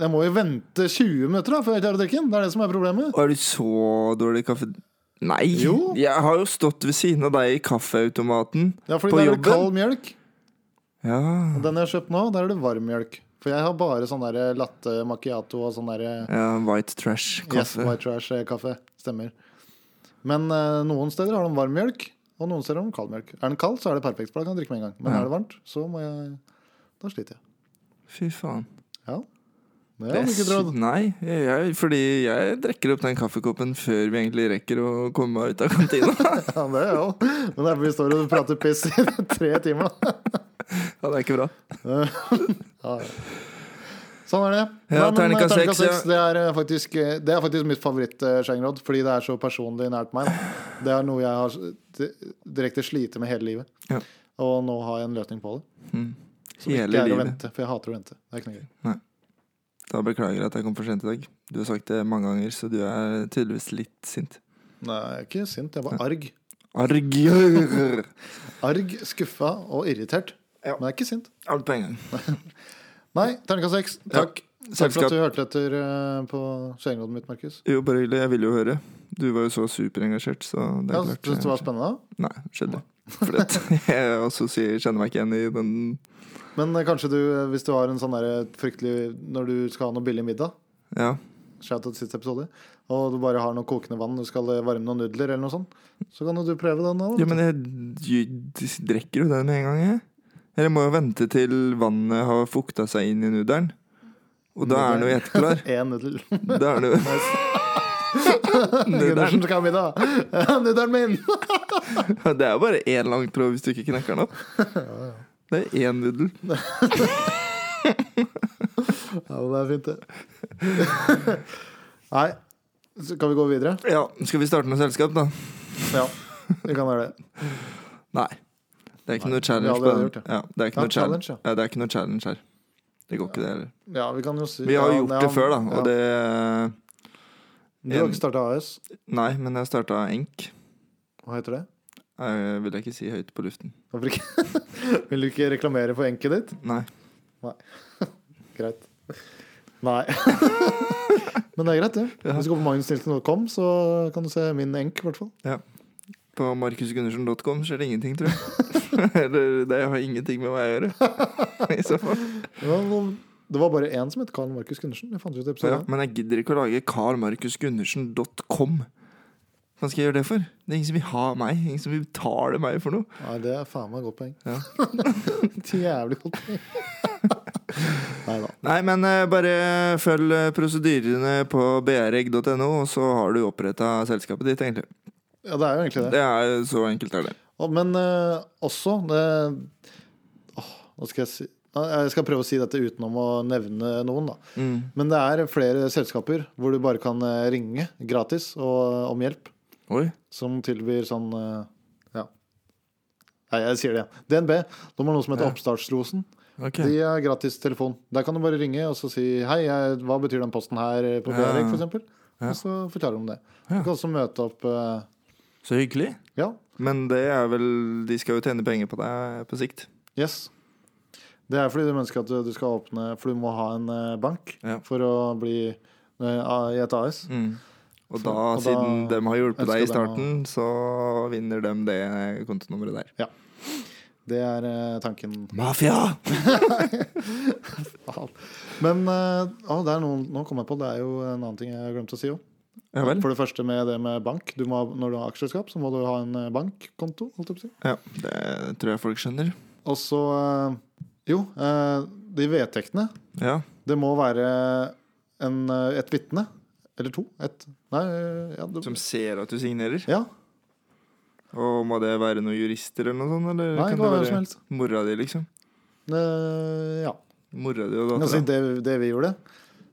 [SPEAKER 1] Jeg må jo vente 20 minutter da før jeg klarer å drikke den. Det er det som er problemet.
[SPEAKER 2] Og er du så dårlig i kaffe... Nei!
[SPEAKER 1] Jo.
[SPEAKER 2] Jeg har jo stått ved siden av deg i kaffeautomaten
[SPEAKER 1] Ja, fordi
[SPEAKER 2] på
[SPEAKER 1] der er det
[SPEAKER 2] jobben.
[SPEAKER 1] kald mjølk.
[SPEAKER 2] Ja.
[SPEAKER 1] Den jeg har kjøpt nå, der er det varm mjølk. For jeg har bare sånn der latte macchiato og sånn der
[SPEAKER 2] ja. White
[SPEAKER 1] Yes,
[SPEAKER 2] trash-kaffe.
[SPEAKER 1] white trash-kaffe. Stemmer. Men eh, noen steder har de varm mjølk, og noen steder har de kald mjølk. Er den kald, så er det perfekt, for da kan jeg drikke med en gang. Men
[SPEAKER 2] Ja.
[SPEAKER 1] er det varmt, så må jeg Da sliter jeg.
[SPEAKER 2] Fy faen.
[SPEAKER 1] Ja. Det hadde jeg ikke
[SPEAKER 2] Det er
[SPEAKER 1] trodd.
[SPEAKER 2] sy- Nei, jeg, jeg, fordi jeg drikker opp den kaffekoppen før vi egentlig rekker å komme meg ut av kantina.
[SPEAKER 1] Ja, det er jeg også. Men det er fordi vi står og prater piss i tre timer, da.
[SPEAKER 2] ja, det er ikke bra.
[SPEAKER 1] Ja, ja. Sånn er det. Nei,
[SPEAKER 2] Ja,
[SPEAKER 1] men, eh,
[SPEAKER 2] terningkast
[SPEAKER 1] terningkast
[SPEAKER 2] seks, ja.
[SPEAKER 1] seks, det, er, eh, faktisk, eh, det er faktisk mitt favoritt-sjangerråd, fordi det er så personlig nært meg. da. Det er noe jeg har eh, di- direkte sliter med hele livet.
[SPEAKER 2] Ja.
[SPEAKER 1] Og nå har jeg en løsning på det.
[SPEAKER 2] Hm.
[SPEAKER 1] Som ikke
[SPEAKER 2] Hele
[SPEAKER 1] er å
[SPEAKER 2] livet.
[SPEAKER 1] vente, for jeg hater å vente. Det er ikke noe gøy.
[SPEAKER 2] Da beklager jeg at jeg kom for sent i dag. Du har sagt det mange ganger, så du er tydeligvis litt sint.
[SPEAKER 1] Nei, jeg er ikke sint, jeg var arg.
[SPEAKER 2] Arg!
[SPEAKER 1] Arg, skuffa og irritert.
[SPEAKER 2] Ja.
[SPEAKER 1] Men jeg er ikke sint.
[SPEAKER 2] Alt på en gang.
[SPEAKER 1] Nei, terningkast seks.
[SPEAKER 2] Ja.
[SPEAKER 1] Takk. Takk for
[SPEAKER 2] Selskap.
[SPEAKER 1] at du hørte etter eh, på sjangerrådet mitt, Markus.
[SPEAKER 2] Jo, bare hyggelig. Jeg ville jo høre. Du var jo så superengasjert, så det
[SPEAKER 1] Ja,
[SPEAKER 2] er
[SPEAKER 1] Syns du det var
[SPEAKER 2] klart.
[SPEAKER 1] spennende?
[SPEAKER 2] Nei, skjedde. For at jeg også sier, kjenner meg ikke igjen i den
[SPEAKER 1] Men eh, kanskje du, eh, hvis du har en sånn der fryktelig Når du skal ha noe billig middag,
[SPEAKER 2] Ja.
[SPEAKER 1] shout out siste episode, og du bare har noe kokende vann, du skal eh, varme noen nudler eller noe sånt, så kan jo du prøve den nå.
[SPEAKER 2] ja, men jeg j- drikker jo den med en gang, jeg. Eller jeg må jo vente til vannet har fukta seg inn i nudelen. Og da er den jo gjeteklar.
[SPEAKER 1] Én nudel.
[SPEAKER 2] Da er det jo
[SPEAKER 1] Gundersen skal ha middag. Nudelen min!
[SPEAKER 2] Det er jo bare én lang tråd hvis du ikke knekker den opp. Det er én nudel.
[SPEAKER 1] Ja, men det er fint, det. Nei, skal vi gå videre?
[SPEAKER 2] Ja, skal vi starte noe selskap, da?
[SPEAKER 1] Ja, vi kan gjøre det.
[SPEAKER 2] Nei. Det er ikke
[SPEAKER 1] Nei,
[SPEAKER 2] noe challenge.
[SPEAKER 1] vi har
[SPEAKER 2] på
[SPEAKER 1] allerede
[SPEAKER 2] den.
[SPEAKER 1] gjort det.
[SPEAKER 2] Ja, det er ikke
[SPEAKER 1] Ja,
[SPEAKER 2] noe
[SPEAKER 1] challenge,
[SPEAKER 2] challenge.
[SPEAKER 1] ja.
[SPEAKER 2] Ja, det er ikke noe challenge her. Det går ikke, det heller.
[SPEAKER 1] Ja, vi kan jo si
[SPEAKER 2] Vi har
[SPEAKER 1] ja,
[SPEAKER 2] jo gjort
[SPEAKER 1] ja,
[SPEAKER 2] det før, da,
[SPEAKER 1] ja.
[SPEAKER 2] og det
[SPEAKER 1] Du har ikke starta AS?
[SPEAKER 2] Nei, men jeg starta enk.
[SPEAKER 1] Hva heter det?
[SPEAKER 2] Jeg vil jeg ikke si høyt på luften.
[SPEAKER 1] Hvorfor ikke? Vil du ikke reklamere for enket ditt?
[SPEAKER 2] Nei.
[SPEAKER 1] Greit. Nei. Men det er greit, det. Hvis du går på magnusnilsen.com, så kan du se min enk, i hvert fall.
[SPEAKER 2] På markusgundersen.com skjer det ingenting, tror jeg. Eller det har ingenting med meg å gjøre. I så fall.
[SPEAKER 1] Det var, det var bare én som het Karl Markus Gundersen. Jeg fant ut i
[SPEAKER 2] Ja,
[SPEAKER 1] episoden.
[SPEAKER 2] men jeg gidder ikke å lage karlmarkusgundersen.com. Hva skal jeg gjøre det for? Det er ingen som vil ha meg. Ingen som vil betale meg for noe.
[SPEAKER 1] Nei, det er faen meg et godt poeng.
[SPEAKER 2] Ja.
[SPEAKER 1] Et Jævlig godt poeng. Nei da.
[SPEAKER 2] Nei, men eh, bare følg eh, prosedyrene på breg.no, og så har du oppretta selskapet ditt, egentlig.
[SPEAKER 1] Ja, det er jo egentlig det.
[SPEAKER 2] Det er så enkelt er det.
[SPEAKER 1] Og- Men eh, også det, åh, Nå skal jeg si jeg skal prøve å si dette utenom å nevne noen, da.
[SPEAKER 2] Mm.
[SPEAKER 1] Men det er flere selskaper hvor du bare kan eh, ringe gratis og om hjelp.
[SPEAKER 2] Oi.
[SPEAKER 1] som tilbyr sånn eh, Ja. Nei, jeg sier det igjen. DNB. De har noe som heter
[SPEAKER 2] Ja.
[SPEAKER 1] Oppstartslosen.
[SPEAKER 2] Ok.
[SPEAKER 1] De har gratis telefon. Der kan du bare ringe og så si Hei, jeg, hva betyr den posten her på Bjerek,
[SPEAKER 2] Ja.
[SPEAKER 1] for eksempel Og
[SPEAKER 2] Ja.
[SPEAKER 1] så forklarer de det. Du
[SPEAKER 2] Ja.
[SPEAKER 1] kan også møte opp eh,
[SPEAKER 2] Så hyggelig.
[SPEAKER 1] Ja,
[SPEAKER 2] Men det er vel De skal jo tjene penger på deg på sikt.
[SPEAKER 1] yes. Det er fordi de ønsker at du, du skal åpne For du må ha en eh, bank
[SPEAKER 2] Ja.
[SPEAKER 1] for å bli eh, A- i et AS.
[SPEAKER 2] Mm. Og
[SPEAKER 1] Så-
[SPEAKER 2] da,
[SPEAKER 1] Mm. og da
[SPEAKER 2] siden de har hjulpet deg i
[SPEAKER 1] ønsker dem
[SPEAKER 2] starten, så vinner de det kontonummeret der.
[SPEAKER 1] Det er eh, tanken.
[SPEAKER 2] Mafia!
[SPEAKER 1] Faen. Men eh, å, det er noen, nå kom jeg på, det er jo en annen ting jeg glemte å si òg.
[SPEAKER 2] Ja vel.
[SPEAKER 1] For det første med det med bank. Du må, ha- når du har aksjeselskap, så må du ha en eh, bankkonto. Holdt jeg på å si.
[SPEAKER 2] Ja, det tror jeg folk skjønner.
[SPEAKER 1] Og så eh, Jo, eh, de vedtektene.
[SPEAKER 2] Ja.
[SPEAKER 1] Det må være en, eh, et vitne. Eller to. Et Nei, eh, ja, du,
[SPEAKER 2] Som ser at du signerer.
[SPEAKER 1] ja.
[SPEAKER 2] Og må det være noen jurister eller noe sånt? Eller
[SPEAKER 1] Nei,
[SPEAKER 2] kan
[SPEAKER 1] hva som
[SPEAKER 2] det være
[SPEAKER 1] helst.
[SPEAKER 2] mora di, liksom?
[SPEAKER 1] eh, ja.
[SPEAKER 2] Mora di og
[SPEAKER 1] Men
[SPEAKER 2] dattera.
[SPEAKER 1] Altså, det, det vi gjorde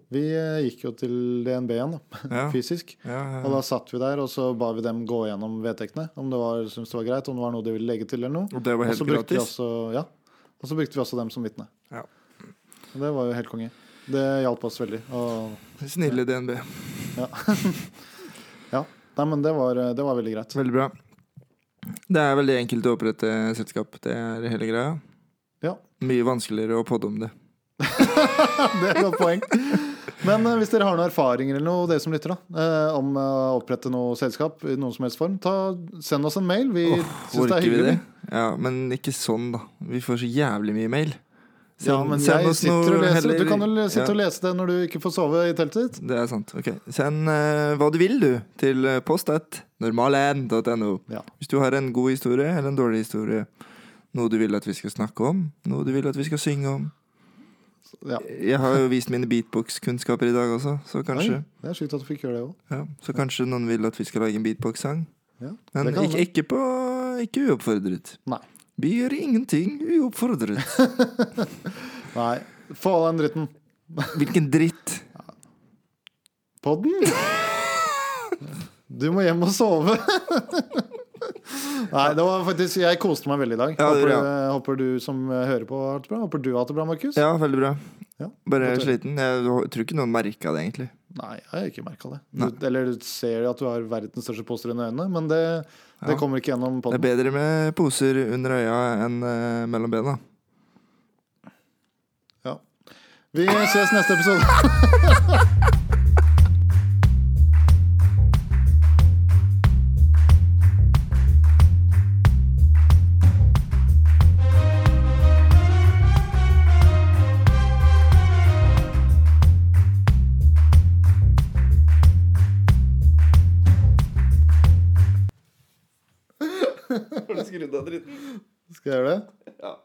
[SPEAKER 1] Vi eh, gikk jo til DNB igjen, da.
[SPEAKER 2] Ja.
[SPEAKER 1] Fysisk.
[SPEAKER 2] Ja, ja.
[SPEAKER 1] Og da satt vi der, og så ba vi dem gå gjennom vedtektene. Om det var, syntes det var greit, om det var noe de ville legge til eller noe.
[SPEAKER 2] Og det var
[SPEAKER 1] Og
[SPEAKER 2] helt
[SPEAKER 1] så brukte, vi
[SPEAKER 2] gratis.
[SPEAKER 1] også, ja. og så brukte vi også dem som vitne.
[SPEAKER 2] Ja.
[SPEAKER 1] Og Det var jo helt konge. Det hjalp oss veldig. Og,
[SPEAKER 2] Snille DNB.
[SPEAKER 1] ja. Nei, men det var, det var veldig greit.
[SPEAKER 2] Veldig bra. Det er veldig enkelt å opprette selskap. Det er hele greia.
[SPEAKER 1] Ja,
[SPEAKER 2] Mye vanskeligere å podde om det.
[SPEAKER 1] det er et godt poeng. Men eh, hvis dere har noen erfaringer eller noe, dere som lytter, da, eh, om eh, å opprette noe selskap i noen som helst form, ta, send oss en mail. Vi syns det
[SPEAKER 2] Orker
[SPEAKER 1] er
[SPEAKER 2] vi
[SPEAKER 1] hyggelig.
[SPEAKER 2] det? Ja, men ikke sånn, da. Vi får så jævlig mye mail.
[SPEAKER 1] Ja,
[SPEAKER 2] Send-
[SPEAKER 1] men
[SPEAKER 2] send
[SPEAKER 1] jeg
[SPEAKER 2] oss noe
[SPEAKER 1] sitter og leser.
[SPEAKER 2] heller-
[SPEAKER 1] Du kan jo sitte
[SPEAKER 2] Ja.
[SPEAKER 1] og lese det når du ikke får sove i teltet ditt.
[SPEAKER 2] Det er sant. ok Send eh, hva du vil, du, til eh, post at normalen.no.
[SPEAKER 1] Ja.
[SPEAKER 2] Hvis du har en god historie eller en dårlig historie, noe du vil at vi skal snakke om, noe du vil at vi skal synge om
[SPEAKER 1] Ja.
[SPEAKER 2] Jeg har jo vist mine beatbox-kunnskaper i dag også, så kanskje,
[SPEAKER 1] Oi, det er sjukt at du fikk gjøre det òg.
[SPEAKER 2] ja, så kanskje noen vil at vi skal lage en beatbox-sang.
[SPEAKER 1] Ja,
[SPEAKER 2] Men
[SPEAKER 1] det kan
[SPEAKER 2] ikke,
[SPEAKER 1] hende.
[SPEAKER 2] ikke, på, ikke uoppfordret.
[SPEAKER 1] Nei.
[SPEAKER 2] Vi gjør ingenting uoppfordret.
[SPEAKER 1] Nei. Få av den dritten.
[SPEAKER 2] Hvilken dritt!
[SPEAKER 1] Podden? Du må hjem og sove. Nei, det var faktisk Jeg koste meg veldig i dag.
[SPEAKER 2] Ja, det
[SPEAKER 1] håper,
[SPEAKER 2] gjorde jeg.
[SPEAKER 1] eh, håper du som eh, hører på, har hatt det bra. Håper du har hatt det bra, Markus?
[SPEAKER 2] Ja, veldig bra.
[SPEAKER 1] Ja, godt
[SPEAKER 2] Bare
[SPEAKER 1] å høre.
[SPEAKER 2] sliten. Jeg tror ikke noen merka det, egentlig.
[SPEAKER 1] Nei, jeg har ikke merka det. Du, eller du ser at du har verdens største poster under øynene, men det, det
[SPEAKER 2] Ja.
[SPEAKER 1] kommer ikke gjennom
[SPEAKER 2] Det er
[SPEAKER 1] podden.
[SPEAKER 2] bedre med poser under øya enn eh, mellom bena.
[SPEAKER 1] Ja. Vi ses neste episode.
[SPEAKER 2] skrudd av dritten.
[SPEAKER 1] Skal jeg gjøre det?
[SPEAKER 2] Ja.